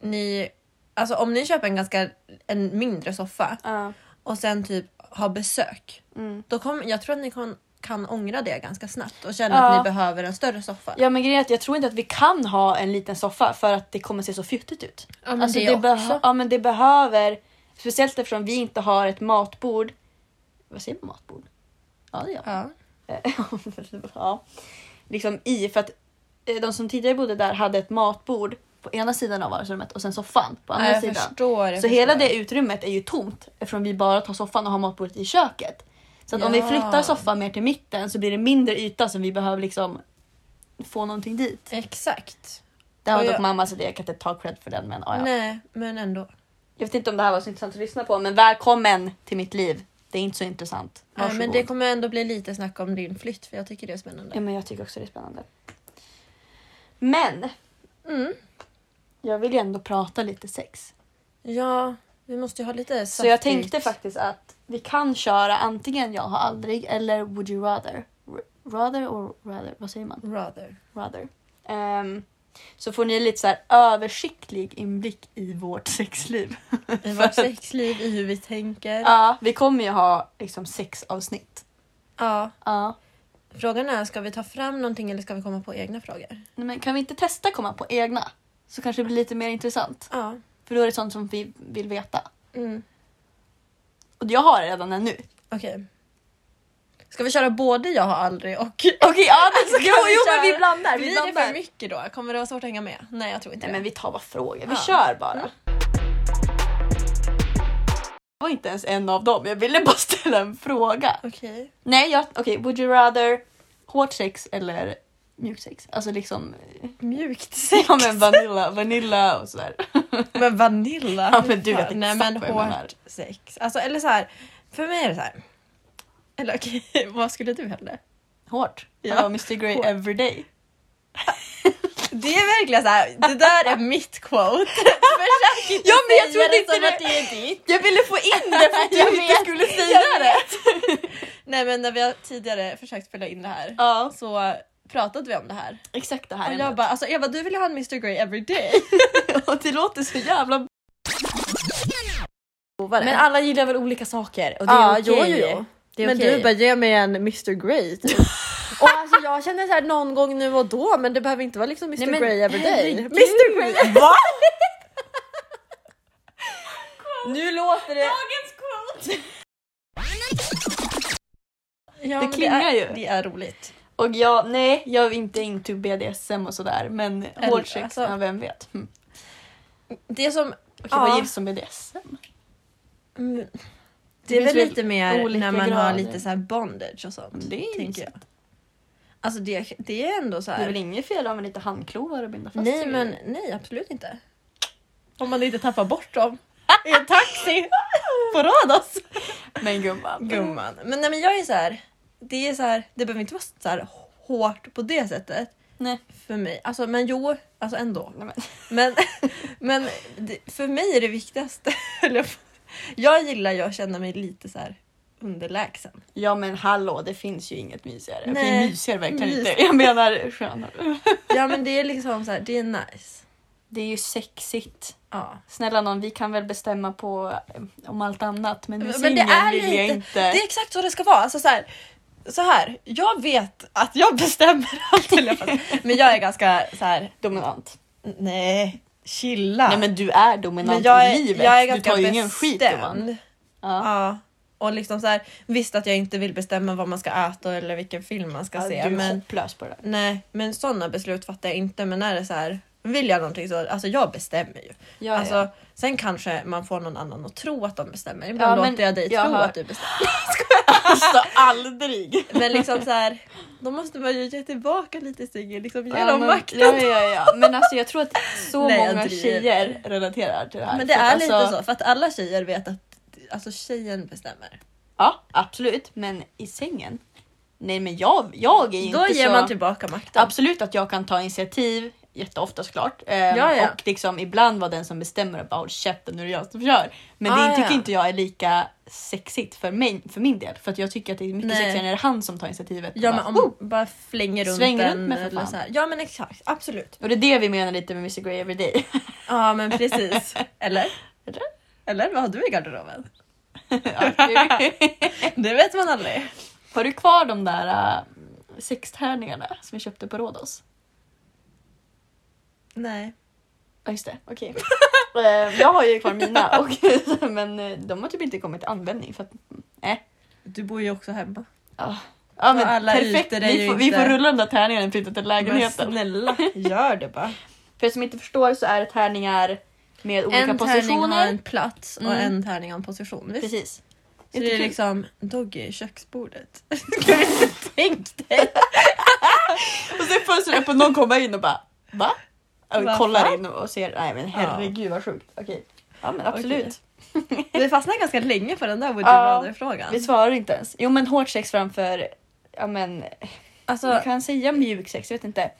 B: ni, alltså om ni köper en ganska en mindre soffa
A: Ja.
B: och sen typ har besök.
A: Mm.
B: Då kom, jag tror att ni kan, kan ångra det ganska snabbt och känna
A: Ja.
B: att ni behöver en större soffa.
A: Ja men grejen är att jag tror inte att vi kan ha en liten soffa för att det kommer se så fjuttigt ut.
B: Ja, men
A: alltså,
B: det
A: det
B: också.
A: behö- ja men det behöver, speciellt eftersom vi inte har ett matbord. Vad säger man matbord? Ja det gör man.
B: Ja.
A: [laughs] ja. Liksom i, för att eh, de som tidigare bodde där hade ett matbord på ena sidan av vardagsrummet och sen soffan på andra
B: Ja, jag
A: sidan.
B: förstår. Jag
A: Så
B: förstår.
A: hela det utrymmet är ju tomt eftersom vi bara tar soffan och har matbordet i köket. Så att om vi
B: Ja.
A: flyttar soffan mer till mitten så blir det mindre yta som vi behöver liksom få någonting dit.
B: Exakt.
A: Det har
B: Och
A: dock
B: jag-
A: mamma så det, jag kan inte ta cred för den men ja, ja.
B: Nej, men ändå.
A: Jag vet inte om det här var så intressant att lyssna på men välkommen till mitt liv. Det är inte så intressant.
B: Nej, men
A: Varsågod.
B: det kommer ändå bli lite snack om din flytt för jag tycker det är
A: Ja
B: spännande.
A: men jag tycker också det är spännande. Men
B: Mm.
A: jag vill ju ändå prata lite sex.
B: Ja, vi måste ju ha lite
A: Så jag
B: saftigt.
A: tänkte faktiskt att vi kan köra antingen jag har aldrig eller would you rather. R- Rather or rather, vad säger man?
B: Rather.
A: Rather. Ehm, så får ni lite så här översiktlig inblick i vårt [laughs] sexliv.
B: I
A: För
B: vårt
A: [laughs] att-
B: sexliv, i hur vi tänker.
A: Ja, vi kommer ju ha liksom sex avsnitt.
B: Ja.
A: Ja.
B: Frågan är, ska vi ta fram någonting eller ska vi komma på egna frågor?
A: Nej, Men kan vi inte testa komma på egna? Så kanske det blir lite mer intressant.
B: Ja.
A: För då är det sånt som vi vill veta.
B: Mm.
A: Och jag har redan en nu.
B: Okej. Ska vi köra både jag har aldrig och...
A: Okej, ja, det, [laughs] jo,
B: kan vi
A: jo men
B: köra?
A: vi blandar. Vi
B: Blir det
A: blandar.
B: för mycket då? Kommer det vara svårt att hänga med? Nej, jag tror inte
A: Nej
B: det.
A: men vi tar bara frågor. Vi
B: Ja.
A: kör bara. Det var inte ens en av dem. Jag ville bara [laughs] ställa en fråga.
B: Okej.
A: Nej, jag, okej. would you rather hårt sex eller mjukt sex? Alltså liksom... eh,
B: Mjukt sex.
A: Ja men vanilla, vanilla och sådär.
B: [laughs] Men vanilla?
A: [laughs] Ja, men du vet
B: Nej
A: exakt
B: men
A: vad jag menar.
B: hårt sex. Alltså eller så här. för mig är det så här. Eller okej, [laughs] vad skulle du hellre?
A: Hårt.
B: Ja.
A: Ja, Mr Grey
B: Hårt.
A: every day.
B: Det är verkligen så här. det där är mitt quote. [laughs] Försök inte
A: Ja, men jag
B: säga
A: trodde
B: det
A: inte
B: som
A: det-
B: att det är ditt.
A: Jag ville få in det [laughs] för
B: [laughs]
A: att
B: Jag
A: jag inte
B: vet,
A: skulle säga
B: jag
A: det.
B: [laughs] Nej men när vi har tidigare försökt spela in det här
A: Ja,
B: så pratade vi om det här.
A: exakt det
B: Och
A: här
B: jag
A: ämnet.
B: bara, alltså Eva du vill ju ha en Mr Grey every day.
A: Och [laughs] det låter så jävla...
B: Men,
A: Men alla gillar väl olika saker och det är
B: Ja,
A: okej.
B: jo, jo, jo.
A: Det är
B: men
A: okej.
B: du bara, ge mig en Mr Grey typ. Och alltså jag känner så här någon gång nu och då men det behöver inte vara liksom Mr
A: Nej, men
B: Grey every day.
A: herregud.
B: Mr Grey! [laughs]
A: Va? nu låter det...
B: Ja,
A: Det
B: men
A: klingar
B: är,
A: ju.
B: Det är roligt.
A: Och jag, nej, jag är inte into BDSM och sådär men hård sex,
B: alltså-
A: ja, vem vet. Mm.
B: Det som...
A: Okej,
B: Ja.
A: vad gills som BDSM?
B: mm, Det,
A: Det
B: är väl
A: finns väl
B: lite mer
A: olika
B: när man har
A: grader.
B: lite så här bondage och sånt.
A: Det är
B: tänker
A: mysigt.
B: jag. Alltså det, det är ändå så
A: Det är väl
B: här.
A: inget fel om en lite handklovar och binda fast
B: Nej
A: sig.
B: men nej absolut inte. Om man inte tappar bort [laughs] dem i en taxi på alltså. Rhodos.
A: Men gumman.
B: Gumman. Men nej men jag är så här. Det är så här. Det behöver inte vara så här hårt på det sättet
A: Nej.
B: för mig. Alltså men jo, alltså ändå.
A: Nej, men.
B: [laughs] Men, men det, för mig är det viktigaste. [laughs] höll jag på- jag gillar ju att känna mig lite så här underlägsen.
A: Ja men hallå, det finns ju inget mysigare. Nej.
B: Nej.
A: Vi myser verkligen
B: Mys.
A: inte. Jag menar skönare.
B: Ja men det är liksom så här, det är nice.
A: Det är ju sexigt.
B: Ja.
A: Snälla någon, vi kan väl bestämma på eh, om allt annat men nu
B: Men det är
A: vill jag
B: lite-
A: inte.
B: Det är exakt så det ska vara. Alltså så här, så här, jag vet att jag [laughs] bestämmer allt höll jag på att säga. Men jag är ganska så här,
A: Dominant.
B: nej, chilla.
A: Nej men du är dominant
B: Men jag
A: i
B: är,
A: livet.
B: jag är
A: du
B: ganska
A: tar ju ingen skit gumman.
B: bestämd.
A: Ja.
B: Ja. Och liksom så här, visst att jag inte vill bestämma vad man ska äta eller vilken film man ska
A: Ja,
B: se.
A: du är
B: men...
A: hopplös på det
B: [laughs]
A: där.
B: Nej, men sådana beslut fattar jag inte. Men när det är så här, vill jag någonting så, alltså jag bestämmer ju.
A: Ja,
B: alltså,
A: ja.
B: Sen kanske man får någon annan att tro att de bestämmer.
A: Ja,
B: Ibland
A: men
B: låter jag dig
A: jag
B: tro
A: hör-
B: att du bestämmer.
A: Alltså aldrig!
B: Men liksom så här, då måste man ju ge tillbaka lite Sigge, liksom ge
A: Ja,
B: dem
A: men-
B: makten.
A: Ja, ja, ja. Men alltså jag tror att så
B: Nej, jag
A: många
B: driver.
A: tjejer relaterar till det här.
B: Men det
A: För
B: är
A: att
B: lite
A: alltså-
B: så, för att alla tjejer vet att alltså, tjejen bestämmer.
A: Ja, absolut. Men i sängen? Nej men jag, jag är ju
B: Då
A: inte
B: ger
A: så...
B: man tillbaka makten.
A: Absolut att jag kan ta initiativ. jätteofta såklart. Ehm,
B: Ja, ja.
A: Och liksom ibland var den som bestämmer att bara håll käften nu är det jag som kör. Men
B: Ah,
A: det tycker
B: ja.
A: inte jag är lika sexigt för min, för min del. För att jag tycker att det är mycket
B: Nej.
A: sexigare när det är han som tar initiativet. och
B: Ja
A: bara,
B: men om
A: "Woo!"
B: bara flänger runt
A: Sväng Oh! runt
B: den.
A: mig för
B: eller
A: fan.
B: så här. Ja men exakt, absolut.
A: Och det är det vi menar lite med Mr Grey Everyday. [laughs]
B: Ja men precis. [laughs] Eller?
A: Eller?
B: Eller vad har du i garderoben? [laughs]
A: Ja, det-
B: Det vet man aldrig.
A: Har du kvar de där äh, sextärningarna som vi köpte på Rhodos?
B: Nej.
A: Ja just det, okej. [laughs] Ehm, jag har ju kvar mina och, [laughs] men eh, de har typ inte kommit till användning. För att,
B: Du bor ju också hemma.
A: ja. Ja, men
B: alla
A: perfekt,
B: ytor är
A: vi
B: ju
A: får, vi
B: inte-
A: får rulla de där tärningarna och flytta till
B: Men
A: lägenheten.
B: snälla, gör det bara.
A: För er som inte förstår så är det tärningar med [laughs] olika
B: en tärning
A: positioner.
B: har en plats och
A: Mm.
B: en tärning har en position. Visst?
A: Precis.
B: Så det är
A: Jättekul.
B: liksom Doggy i köksbordet. Kan du inte tänka dig?
A: [laughs] Och sen fönstret är öppet och någon kommer in och bara va? Och
B: Vad
A: kollar
B: fan?
A: in och ser, nej men herregud vad sjukt. Okej. Ja men absolut.
B: Okej. [laughs] Vi fastnade ganska länge på den där Would you
A: Ja.
B: rather-frågan.
A: Alltså. Vi svarar inte ens. Jo men hårt sex framför, ja men,
B: Alltså,
A: man kan säga mjuk sex, jag vet inte.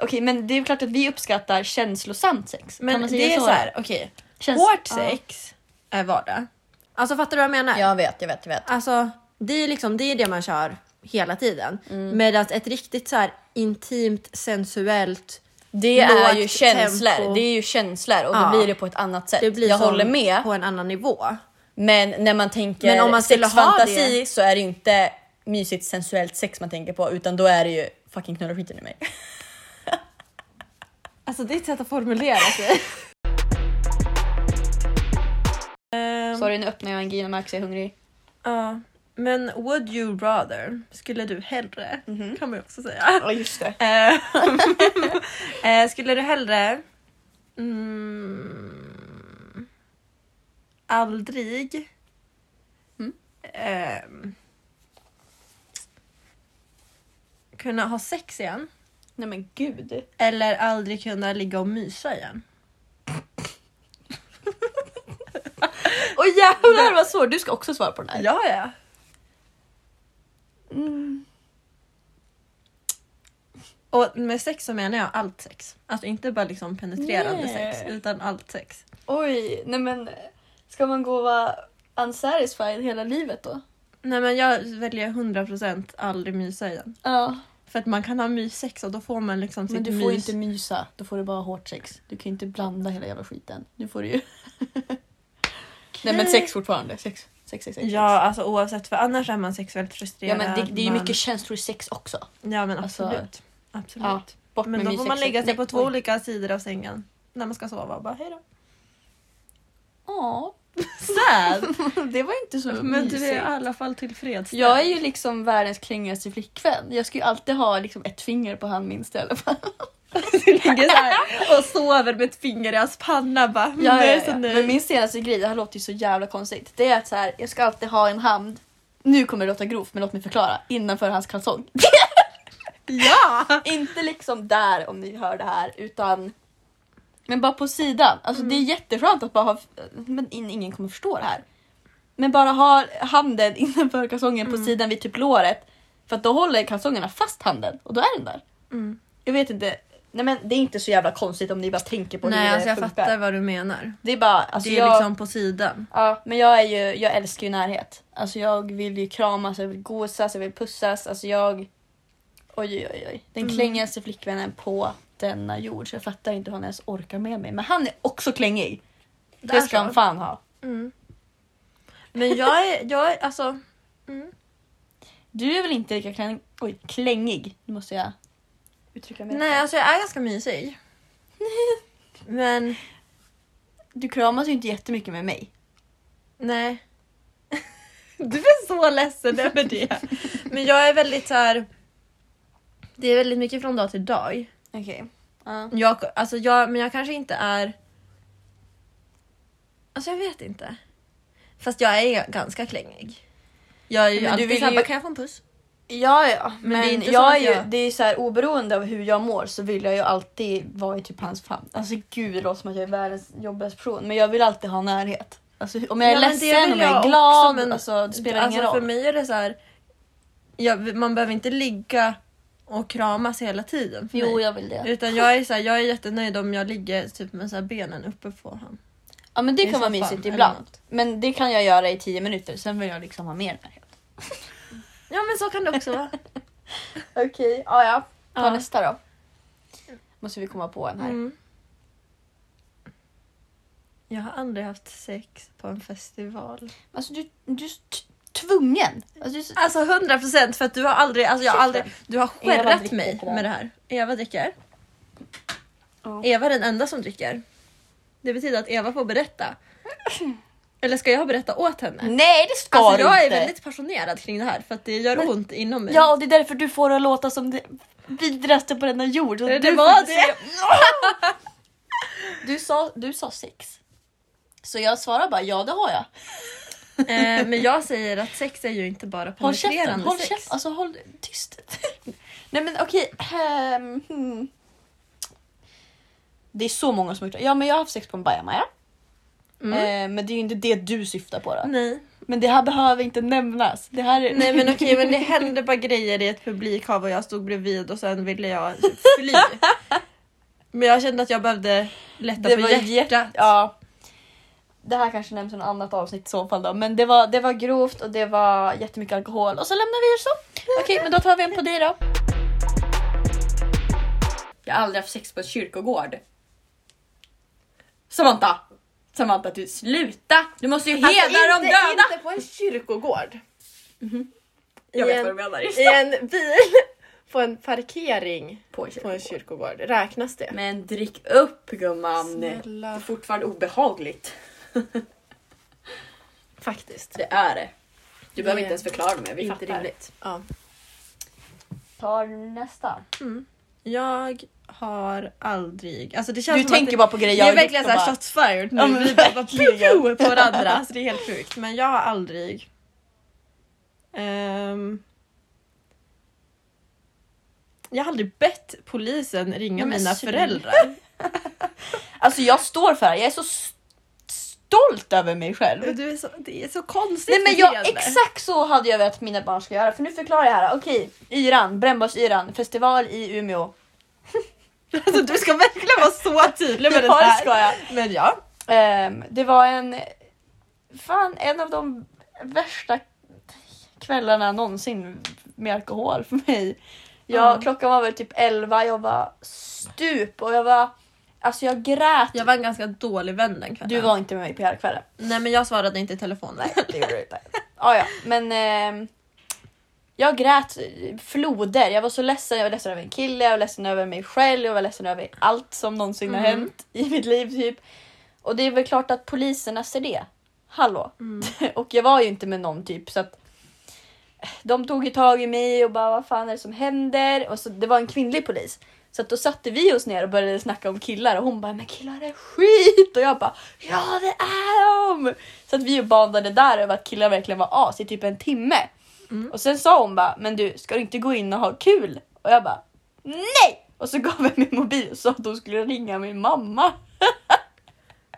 A: Okej men det är ju klart att vi uppskattar känslosamt sex. kan
B: men
A: man säga
B: det är så här, okej.
A: Känns-
B: Hårt
A: ja.
B: sex är vardag. Alltså fattar du vad jag menar?
A: Jag vet, jag vet, jag vet.
B: Alltså, det är liksom det, är det man kör hela tiden.
A: Mm.
B: Medan ett riktigt så här intimt, sensuellt...
A: Det
B: Lågt
A: är ju känslor.
B: tempo.
A: Det är ju känslor och
B: Ja.
A: då blir det på ett annat sätt.
B: Det blir
A: jag
B: som
A: håller med.
B: på en annan nivå.
A: Men när man tänker
B: Men om man skulle ha
A: sexfantasi så är det ju inte mysigt sensuellt sex man tänker på utan då är det ju fucking knulla skiten i mig.
B: Mm. Alltså det är ett sätt att formulera
A: [laughs]
B: sig. Ehm,
A: Sorry nu öppnar jag en gin och märker jag är hungrig.
B: ja. Men would you rather, skulle du hellre, kan man ju också säga.
A: Mhm. Ja just det.
B: Ehm, [laughs] eh, skulle du hellre mm, aldrig
A: Mm.
B: ehm, kunna ha sex igen
A: Nej men gud.
B: eller aldrig kunna ligga och mysa igen?
A: [laughs] Åh jävlar vad svårt. Du ska också svara på den här.
B: [laughs] Ja, ja.
A: Mm.
B: Och med sex så menar jag allt sex. Alltså inte bara liksom penetrerande
A: Nej.
B: sex utan allt sex.
A: Oj, nej men ska man gå och vara unsatisfied hela livet då?
B: Nej men jag väljer 100% aldrig mysa igen.
A: Ja.
B: För att man kan ha myssex och då får man liksom sitt
A: Men du får ju
B: mys.
A: inte mysa, då får du bara ha hårt sex. Du kan ju inte blanda hela jävla skiten. Nu får du ju... Nej men sex fortfarande. Sex, sex, sex. sex.
B: Ja, alltså oavsett för annars är man sexuellt
A: Ja,
B: frustrerad.
A: men det, det är ju
B: man-
A: mycket känslor i sex också.
B: Ja men
A: alltså-
B: absolut. absolut.
A: Ja, Bort
B: men
A: med
B: då
A: min
B: får man
A: sex-
B: lägga sig
A: nej,
B: på två
A: oj.
B: olika sidor av sängen när man ska sova och bara hejdå.
A: Ja, [laughs]
B: Sad!
A: det var inte [laughs] så
B: men du är i
A: mysigt.
B: alla fall tillfredsställd.
A: Jag är ju liksom världens klängigaste flickvän. Jag ska ju alltid ha liksom ett finger på han minst i alla fall.
B: [laughs] Du ligger så här och sover med ett finger i hans panna bara. "Mm,
A: Ja,
B: jag är
A: ja,
B: så
A: ja.
B: nöjd."
A: Men min senaste grej, det här låter ju så jävla konstigt. Det är att så här, jag ska alltid ha en hand. Nu kommer det låta grovt men låt mig förklara. Innanför hans kalsong.
B: [laughs] Ja!
A: [laughs] inte liksom där om ni hör det här utan men bara på sidan. Alltså det är
B: Mm.
A: jätteskönt att bara ha, men in- ingen kommer förstå det här. Men bara ha handen innanför kalsongen
B: Mm.
A: på sidan vid typ låret. För att då håller kalsongerna fast handen och då är den där.
B: Mm.
A: Jag vet inte. Nej men det är inte så jävla konstigt om ni bara tänker på
B: Nej
A: hur det
B: alltså jag
A: funkar.
B: fattar vad du menar.
A: Det är bara, alltså
B: det är
A: jag,
B: liksom på sidan.
A: ja, men jag är ju, jag älskar ju närhet. Alltså jag vill ju kramas, jag vill gosas, jag vill pussas. Alltså jag, oj oj oj. Den klängigaste flickvännen på denna jord. Så jag fattar inte hur han ens orkar med mig. Men han är också klängig.
B: Där
A: Det ska
B: så.
A: han fan ha.
B: Mm. Men jag är, jag är alltså... Mm.
A: Du är väl inte lika kläng, oj, klängig? Nu måste jag uttrycka mig.
B: Nej alltså jag är ganska mysig. [laughs] Men
A: Du kramas ju inte jättemycket med mig.
B: nej. Du är så ledsen över det. [laughs] Men jag är väldigt så här. Det är väldigt mycket från dag till dag.
A: Okej. Ja.
B: Jag, alltså jag, men jag kanske inte är... Alltså jag vet inte. Fast jag är ganska klängig. Jag är ju
A: Men du
B: alltid
A: vill
B: vill såhär,
A: ju-
B: bara, kan jag få en puss?
A: Ja, ja. Men,
B: det är inte
A: det
B: så
A: är jag
B: att
A: är ju,
B: jag-
A: det är ju så här oberoende av hur jag mår så vill jag ju alltid vara i typ hans famn. Alltså gud, det låter som att jag är världens jobbigaste person, men jag vill alltid ha närhet. Alltså om jag är
B: Ja, men det
A: ledsen,
B: vill
A: om jag är
B: jag
A: glad,
B: också, men-
A: alltså det spelar
B: alltså,
A: ingen roll.
B: För mig är det så här, ja, man behöver inte ligga och kramas hela tiden för
A: Jo,
B: mig.
A: jag vill det.
B: Utan jag är, så här, jag är jättenöjd om jag ligger typ med så här benen uppe på honom.
A: Ja men det
B: i
A: kan vara
B: soffan
A: mysigt
B: eller
A: ibland.
B: något.
A: Men det kan jag göra i tio minuter, sen vill jag liksom ha mer närhet.
B: Ja men så kan det också vara.
A: Okej, ja ja. Ta
B: Ja.
A: nästa då. Måste vi komma på en här.
B: [laughs] Mm. Jag har aldrig haft sex på en festival.
A: Alltså du, du är så t- tvungen. Alltså, du är så...
B: Alltså 100% för att du har aldrig, alltså jag har aldrig, du har
A: Eva
B: skärrat
A: dricker
B: mig
A: på det här.
B: med det här. Eva dricker.
A: Ja.
B: Eva är den enda som dricker. Det betyder att Eva får berätta. [clears throat] Eller ska jag berätta åt henne?
A: Nej det ska
B: Alltså
A: du
B: jag är
A: inte.
B: väldigt passionerad kring det här för att det gör ont inom mig.
A: Ja och det är därför du får det att låta som det vidraste på denna jord.
B: det,
A: du
B: det var
A: får
B: det!
A: se- Du sa, du sa sex. Så jag svarar bara ja det har jag.
B: Eh, men jag säger att sex är ju inte bara
A: Håll käften,
B: penetrerande
A: håll
B: sex.
A: käften. Alltså håll tyst. [laughs] Nej men okej. ehm, hmm. Det är så många som har gjort det. Ja men jag har haft sex på en bajamaja.
B: Mm.
A: Eh, men det är ju inte det du syftar på då.
B: Nej.
A: Men det här behöver inte nämnas. Det här är... [laughs]
B: Nej men okej men det hände bara grejer i ett publikhav och jag stod bredvid och sen ville jag fly. Men jag kände att jag behövde lätta
A: det
B: på
A: var
B: hjärtat.
A: jätte- Ja. Det här kanske nämns i något annat avsnitt i så fall då. Men det var, det var grovt och det var jättemycket alkohol. Och så lämnar vi er så. Okej men då tar vi en på dig då. Jag har aldrig haft sex på ett kyrkogård. Samantha! Samantha du sluta! Du måste ju hedra
B: Alltså,
A: de döda! Mm-hmm.
D: inte på en kyrkogård.
B: I
D: Jag vet
B: en-
D: vad du menar.
B: I en bil.
D: På en parkering på en kyrkogård, räknas det?
A: Men drick upp gumman!
D: Snälla.
A: Det är fortfarande obehagligt.
D: Faktiskt.
A: Det är det. Du behöver
D: Nej.
A: inte ens förklara mig, vi
D: Inte
A: fattar.
D: rimligt. Ja.
A: Tar nästa.
B: Jag har aldrig, alltså det känns
A: Du
B: som att
A: tänker
B: det,
A: bara på grejer jag
B: det är
A: har gjort
B: verkligen
A: och
B: såhär
A: bara-
B: shots fired nu.
A: Ja, men
B: vi bara [laughs] bara
A: verkligen.
B: pju på varandra så [laughs] det är helt sjukt. Men jag har aldrig ehm, jag har aldrig bett polisen ringa
A: Nej, men
B: mina
A: sluta.
B: [laughs] föräldrar.
A: Alltså jag står för det här. jag är så st- stolt över mig själv.
B: Du är så, det är så konstigt
A: Nej men jag,
B: beteende.
A: exakt så hade jag velat att mina barn ska göra. För nu förklarar jag här. Okej, Yran, Brännbars-Yran, festival i Umeå.
B: Alltså, du ska verkligen vara så tydlig [laughs] med det
A: Ja, det
B: här.
A: ska jag.
B: Men ja.
A: Ehm, det var en, fan en av de värsta kvällarna någonsin med alkohol för mig. Jag,
B: Ja.
A: Klockan var väl typ 11, jag var stup och jag var, alltså jag grät.
B: Jag var en ganska dålig vän den kvällen.
A: Du var inte med mig på hela kvällen.
B: Nej men jag svarade inte i telefonen.
A: Det gjorde du inte. [laughs] Ja, ja, men ehm, jag grät floder. Jag var så ledsen. Jag var ledsen över en kille, jag var ledsen över mig själv, jag var ledsen över allt som någonsin har
B: Mm.
A: hänt i mitt liv. typ. Och det är väl klart att poliserna ser det. Hallå. [laughs] och jag var ju inte med någon typ så att de tog ju tag i mig och bara vad fan är det som händer? Och så, det var en kvinnlig polis. Så att då satte vi oss ner och började snacka om killar och hon bara men killar är skit och jag bara ja det är de! Så att vi bandade där över att killar verkligen var as i typ en timme. Och sen sa hon bara men du ska du inte gå in och ha kul? Och jag bara nej! Och så gav jag min mobil och sa att hon skulle ringa min mamma.
B: [laughs]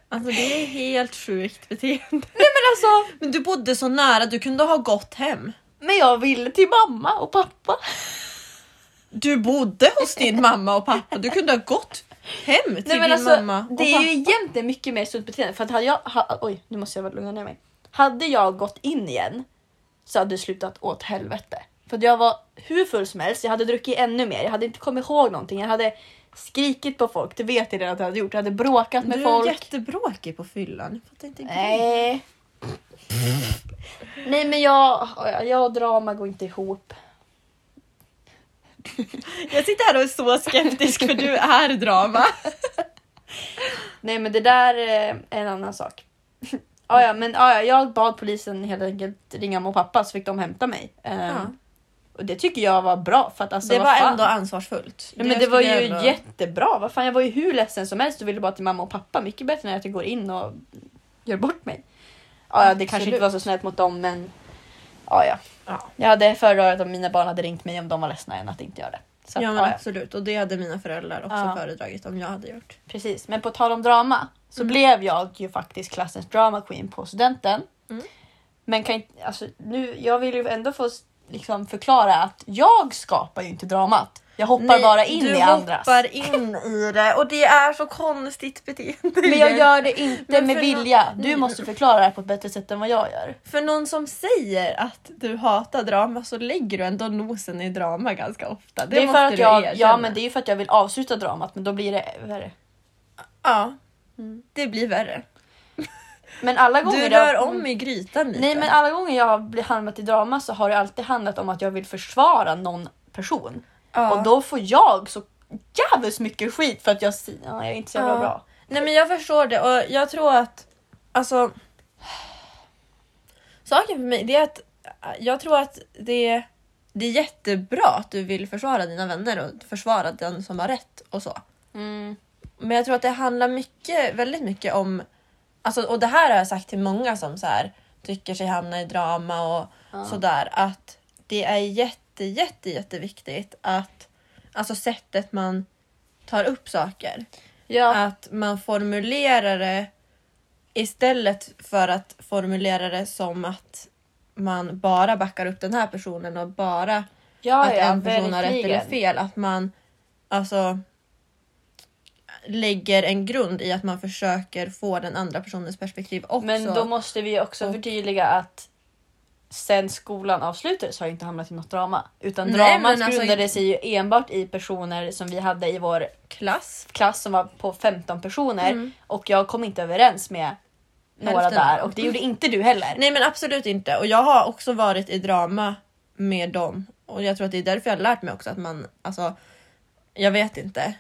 B: Alltså det är helt sjukt beteende.
A: Men alltså,
B: Men du bodde så nära, du kunde ha gått hem.
A: men jag ville till mamma och pappa.
B: Du bodde hos din mamma och pappa, du kunde ha gått hem till
A: Nej, men
B: din
A: alltså,
B: mamma och
A: det är
B: pappa.
A: ju egentligen mycket mer sunt beteende. För att hade jag, ha, oj, nu måste jag väl lugna ner mig. Hade jag gått in igen så hade det slutat åt helvete. För att jag var hur full som helst, jag hade druckit ännu mer, jag hade inte kommit ihåg någonting. Jag hade skrikit på folk, det vet jag redan att jag hade gjort. Jag hade bråkat med
B: Du är
A: folk.
B: jättebråkig på fyllan. Jag fattar inte grejen.
A: Nej. Nej men jag, jag och drama går inte ihop.
B: Jag sitter här och är så skeptisk för du är drama.
A: Nej men det där eh, är en annan sak. [laughs] ah, ja, men ah, ja, jag bad polisen helt enkelt ringa mamma och pappa så fick de hämta mig. Ehm,
B: Ja.
A: Och det tycker jag var bra för att alltså
B: Ah. det
A: vad
B: var
A: fan.
B: ändå ansvarsfullt.
A: Nej, men det var ju
B: skulle jag ändå-
A: jättebra. Vad fan, jag var ju hur ledsen som helst och ville bara till mamma och pappa. Mycket bättre än att jag går in och gör bort mig. Ah, ja, det kanske
B: Absolut.
A: inte var så snällt mot dem men ah, ja.
B: Ja.
A: Jag hade föredragit om mina barn hade ringt mig om de var ledsna än att inte göra det. Så att,
B: Ja men
A: ah, ja.
B: absolut och det hade mina föräldrar också
A: Ja.
B: föredragit om jag hade gjort.
A: Precis, men på tal om drama
B: Mm.
A: så blev jag ju faktiskt klassens drama queen på studenten.
B: Mm.
A: Men kan inte, alltså, nu, jag vill ju ändå få s- liksom, förklara att jag skapar ju inte dramat. Jag hoppar bara in
B: du
A: i andras.
B: hoppar in i det och det är så konstigt beteende.
A: Men jag gör det inte
B: Men
A: med
B: för-
A: vilja. Du måste förklara det här på ett bättre sätt än vad jag gör.
B: För någon som säger att du hatar drama så lägger du ändå nosen i drama ganska ofta. Det,
A: Det, är
B: måste
A: för att
B: du
A: jag,
B: erkänna.
A: ja, men det är ju för att jag vill avsluta dramat men då blir det värre.
B: Ja,
A: Mm.
B: det blir värre.
A: Men alla gånger
B: Du
A: jag-
B: rör om i grytan lite.
A: Nej men alla gånger jag har bli- hamnat i drama så har det alltid handlat om att jag vill försvara någon person.
B: ja.
A: Och då får jag så jävligt mycket skit för att jag, si- ja, jag är inte så jävla
B: Ja.
A: bra.
B: Nej men jag förstår det och jag tror att alltså saken för mig det är att jag tror att det, det är jättebra att du vill försvara dina vänner och försvara den som har rätt och så. Men jag tror att det handlar mycket, väldigt mycket om, alltså, och det här har jag sagt till många som så här, tycker sig hamna i drama och sådär, att det är jätte, jätte, jätteviktigt att, alltså sättet man tar upp saker,
A: Ja.
B: att man formulerar det istället för att formulera det som att man bara backar upp den här personen och bara
A: Ja,
B: att
A: ja,
B: en person har rätt eller
A: verkligen.
B: fel. Att man alltså lägger en grund i att man försöker få den andra personens perspektiv också.
A: Men då måste vi också
B: Och-
A: förtydliga att sen skolan avslutades har jag inte hamnat i något drama. Utan
B: Nej,
A: dramat
B: men alltså-
A: grundade sig ju enbart i personer som vi hade i vår
B: Klass.
A: klass som var på 15 personer och jag kom inte överens med några
B: Hälften av
A: där
B: dem.
A: och det gjorde inte du heller.
B: Nej men absolut inte. Och jag har också varit i drama med dem. Och jag tror att det är därför jag har lärt mig också att man, alltså, jag vet inte.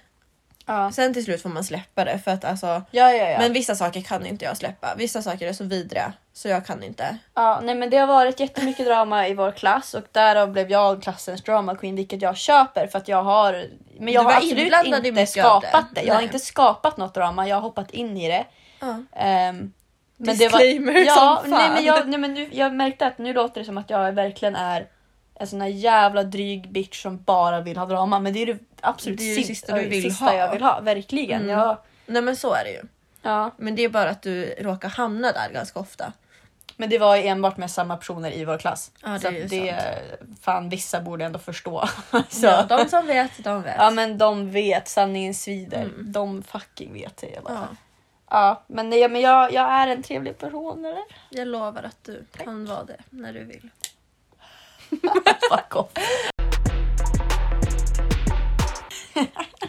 A: Ja,
B: Sen till slut får man släppa det för att alltså,
A: ja, ja. ja.
B: men vissa saker kan inte jag släppa. Vissa saker är så vidriga så jag kan inte.
A: Ja, nej men det har varit jättemycket drama i vår klass och därav blev jag klassens drama queen vilket jag köper för att jag har men jag
B: Du var
A: har absolut
B: inblandad i
A: inte
B: mycket av det.
A: skapat det. Jag har
B: Nej.
A: inte skapat något drama, jag har hoppat in i det.
B: Ja.
A: Ehm,
B: Disclaimer
A: det var, ja,
B: som fan.
A: nej, men jag, nej, men nu, jag märkte att nu låter det som att jag verkligen är en sån här jävla dryg bitch som bara vill ha drama men det är det absolut
B: Det är det
A: sist-
B: sista du vill
A: sista
B: ha.
A: jag vill ha. Verkligen.
B: Mm.
A: Jag,
B: Nej men så är det ju.
A: ja.
B: Men det är bara att du råkar hamna där ganska ofta.
A: Men det var ju enbart med samma personer i vår klass.
B: Ja, det
A: så
B: är
A: att
B: ju
A: fan vissa borde ändå förstå. [laughs] så.
B: Ja,
A: Ja,
B: de som vet, de vet.
A: men de vet, sanningen svider. De fucking vet säger jag bara.
B: Ja,
A: Mm. Ja. men, nej, men jag, jag är en trevlig person eller?
B: jag lovar att du kan vara det när du vill.
A: [laughs] Fuck off.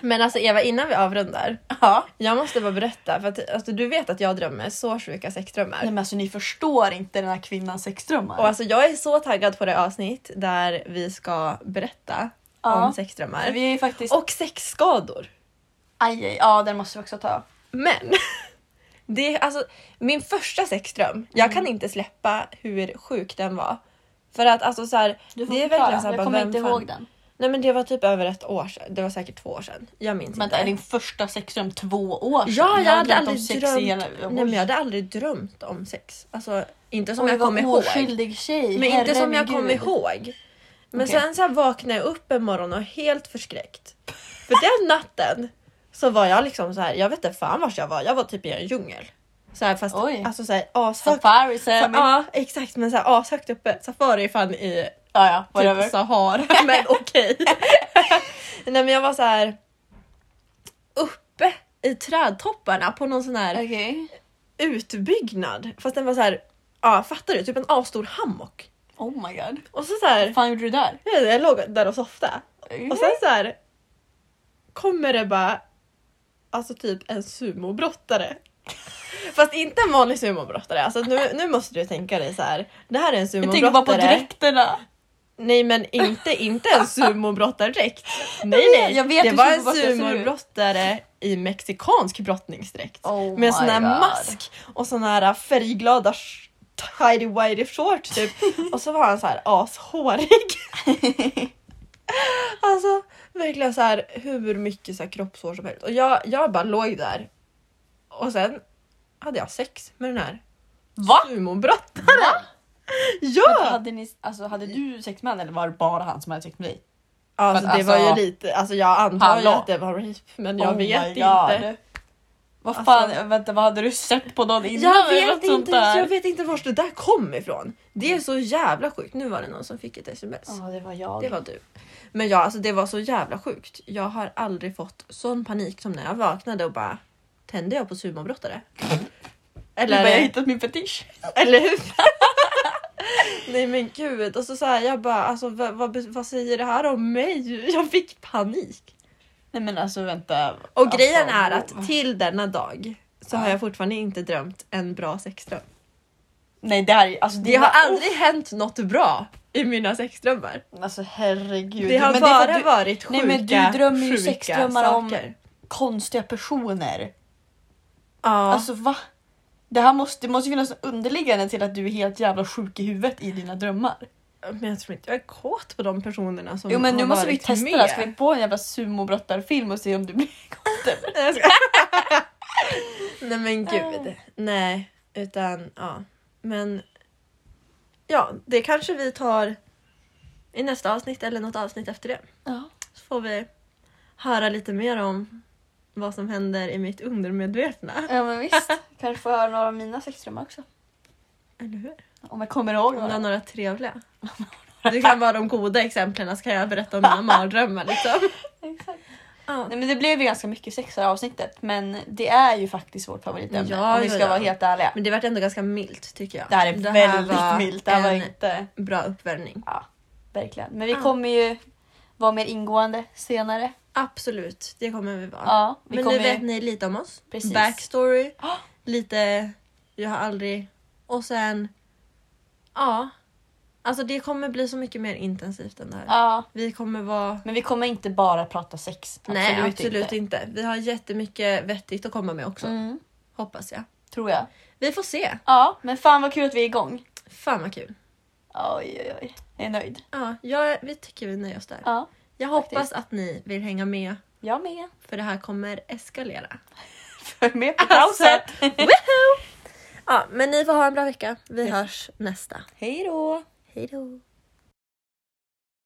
B: Men alltså Eva, innan vi avrundar.
A: Ja.
B: Jag måste bara berätta, för att alltså, du vet att jag drömmer så sjuka sexdrömmar.
A: Nej men alltså ni förstår inte den här kvinnans sexdrömmar.
B: Och alltså jag är så taggad på det avsnitt där vi ska berätta
A: Ja.
B: om sexdrömmar.
A: vi är ju faktiskt...
B: Och sexskador.
A: Aj, aj, ja den måste vi också ta.
B: Men! [laughs] Det är alltså min första sexdröm. Jag
A: Mm.
B: kan inte släppa hur sjuk den var. För att alltså så här,
A: Du får
B: det är
A: förklara.
B: verkligen så här,
A: jag
B: bara,
A: kommer
B: vem
A: inte
B: fan-
A: ihåg den.
B: Nej men det var typ över ett år sedan. Det var säkert två år sedan. Jag minns
A: Vänta, är
B: inte.
A: din första sexdröm två år sedan?
B: Ja, jag hade
A: drömt
B: aldrig
A: sex
B: drömt.
A: i hela-
B: Nej, men jag hade aldrig drömt om sex. Alltså inte som
A: Oj,
B: jag
A: vad
B: kom ihåg.
A: Oskyldig tjej.
B: Men inte som jag
A: herregud.
B: kom ihåg. Men
A: Okej.
B: sen så här vaknade jag upp en morgon och helt förskräckt. För
A: [laughs]
B: den natten så var jag liksom så här, jag vet inte fan vart jag var. Jag var typ i en djungel. Så här, fast
A: Oj.
B: alltså så här, ashögt.
A: Safari Sam. Ja,
B: Ja exakt men så här, ashögt uppe. Safari fan i
A: ja, whatever.
B: typ Sahara.
A: [laughs]
B: Men okej. [laughs] Nej men jag var så här uppe i trädtopparna på någon sån här
A: Okej.
B: utbyggnad. Fast den var så här, ja fattar du? Typ en asstor hammock.
A: Oh my god.
B: Och så så här,
A: Vad fan gjorde du där?
B: jag, vet inte, jag låg där och softade. Och
A: Mhm.
B: sen så här kommer det bara alltså typ en sumobrottare. Fast inte en vanlig sumobrottare. Alltså nu, nu måste du tänka dig så här. Det här är en
A: jag tänker bara på
B: sumobrottare.
A: dräkterna.
B: Nej men inte, inte en sumobrottardräkt. Nej
A: vet-
B: nej,
A: jag vet
B: det
A: hur
B: var en
A: sumobrottare ser ut.
B: sumobrottare i mexikansk brottningsdräkt.
A: Oh
B: med sån här
A: my God.
B: mask och sån här äh, färgglada sh- tidy whitey shorts
A: [laughs]
B: typ. och så var han så här ashårig. alltså verkligen så här hur mycket så här kroppshår som helst. Och jag, jag bara låg där. Och sen hade jag sex med den här
A: Va?
B: sumobrottaren.
A: Ah! Vänta,
B: Ja!
A: Hade, ni, alltså, hade du sex med henne eller var det bara han som hade sex med dig?
B: Alltså
A: Men
B: det var ju
A: alltså-
B: lite, alltså jag antar ju
A: Hallå.
B: att det var rape men jag
A: Oh
B: vet
A: my God.
B: inte.
A: Vad
B: Alltså-
A: fan, vänta vad hade du sett på någon innan?
B: Jag
A: eller
B: vet,
A: något sånt
B: inte,
A: där?
B: jag vet inte vart det där kom ifrån. Det är så jävla sjukt. Nu var det någon som fick ett sms.
A: Ja, det var jag.
B: Det var du. Men ja, alltså det var så jävla sjukt. Jag har aldrig fått sån panik som när jag vaknade och bara tände jag på sumobrottare?
A: Du bara, jag har
B: Eller,
A: hittat min fetisch.
B: eller hur? [laughs] Nej men gud, och så så här, jag bara alltså vad, vad, vad säger det här om mig? Jag fick panik.
A: Nej men alltså vänta.
B: Och
A: alltså,
B: grejen är att
A: vad-
B: till denna dag så har jag fortfarande inte drömt en bra sexdröm.
A: Nej det här är alltså
B: Det har
A: var-
B: aldrig hänt något bra i mina sexdrömmar.
A: Oh, Alltså herregud.
B: Det har
A: Men är för
B: bara
A: att du-
B: varit sjuka,
A: Nej, men du drömmer ju
B: sjuka
A: sexdrömmar om-
B: saker.
A: konstiga personer.
B: Ja.
A: Alltså va? Det här måste, det måste finnas en underliggande till att du är helt jävla sjuk i huvudet i dina drömmar.
B: Men jag tror inte jag är kåt på de personerna som
A: Jo men
B: har
A: nu måste vi
B: varit
A: testa
B: med.
A: det här. Ska vi på en jävla sumobrottarfilm och se om du blir [laughs] kåt eller?
B: [laughs] Nej, jag ska... Nej men gud. Nej, utan ja. Men ja, det kanske vi tar i nästa avsnitt eller något avsnitt efter det.
A: Ja.
B: Så får vi höra lite mer om vad som händer i mitt undermedvetna.
A: Ja men visst. Kanske får höra några av mina sexdrömmar också.
B: Eller hur?
A: Om jag kommer ihåg
B: Om du har
A: några.
B: några
A: [laughs]
B: trevliga. Du kan vara de goda exemplen så kan jag berätta om
A: [laughs]
B: mina mardrömmar liksom.
A: Exakt.
B: Ja.
A: Nej men det blev ju ganska mycket sex i det här avsnittet men det är ju faktiskt vårt favoritämne
B: Ja,
A: om vi
B: ja,
A: ska
B: ja.
A: vara helt ärliga.
B: Men det vart ändå ganska milt tycker jag.
A: Det här är väldigt
B: var
A: milt. Det här
B: en
A: var inte...
B: bra uppvärmning.
A: Ja, verkligen. Men vi
B: Ja.
A: kommer ju vara mer ingående senare.
B: Absolut, det kommer vi vara.
A: Ja, vi
B: Men
A: kommer...
B: nu vet ni lite om oss.
A: Precis. Ah!
B: Backstory,
A: Ja.
B: lite jag har aldrig... Och sen... Ja. Alltså det kommer bli så mycket mer intensivt än det här.
A: Ja,
B: Vi kommer vara...
A: men vi kommer inte bara prata sex.
B: Nej, absolut inte. Vi har jättemycket vettigt att komma med också.
A: Mm,
B: Hoppas jag.
A: tror jag.
B: Vi får se.
A: Ja, men fan vad kul att vi är igång.
B: Fan vad kul.
A: Oj, oj, oj. Jag är nöjd.
B: Ja, jag, vi tycker vi nöjer oss där.
A: Ja,
B: jag
A: faktiskt.
B: hoppas att ni vill hänga med
A: jag med.
B: för det här kommer eskalera.
A: Följ med på
B: Alltså.
A: pauset. [laughs]
B: Woho! Ja, men ni får ha en bra vecka. Vi hörs nästa.
A: Hej då.
B: Hej då!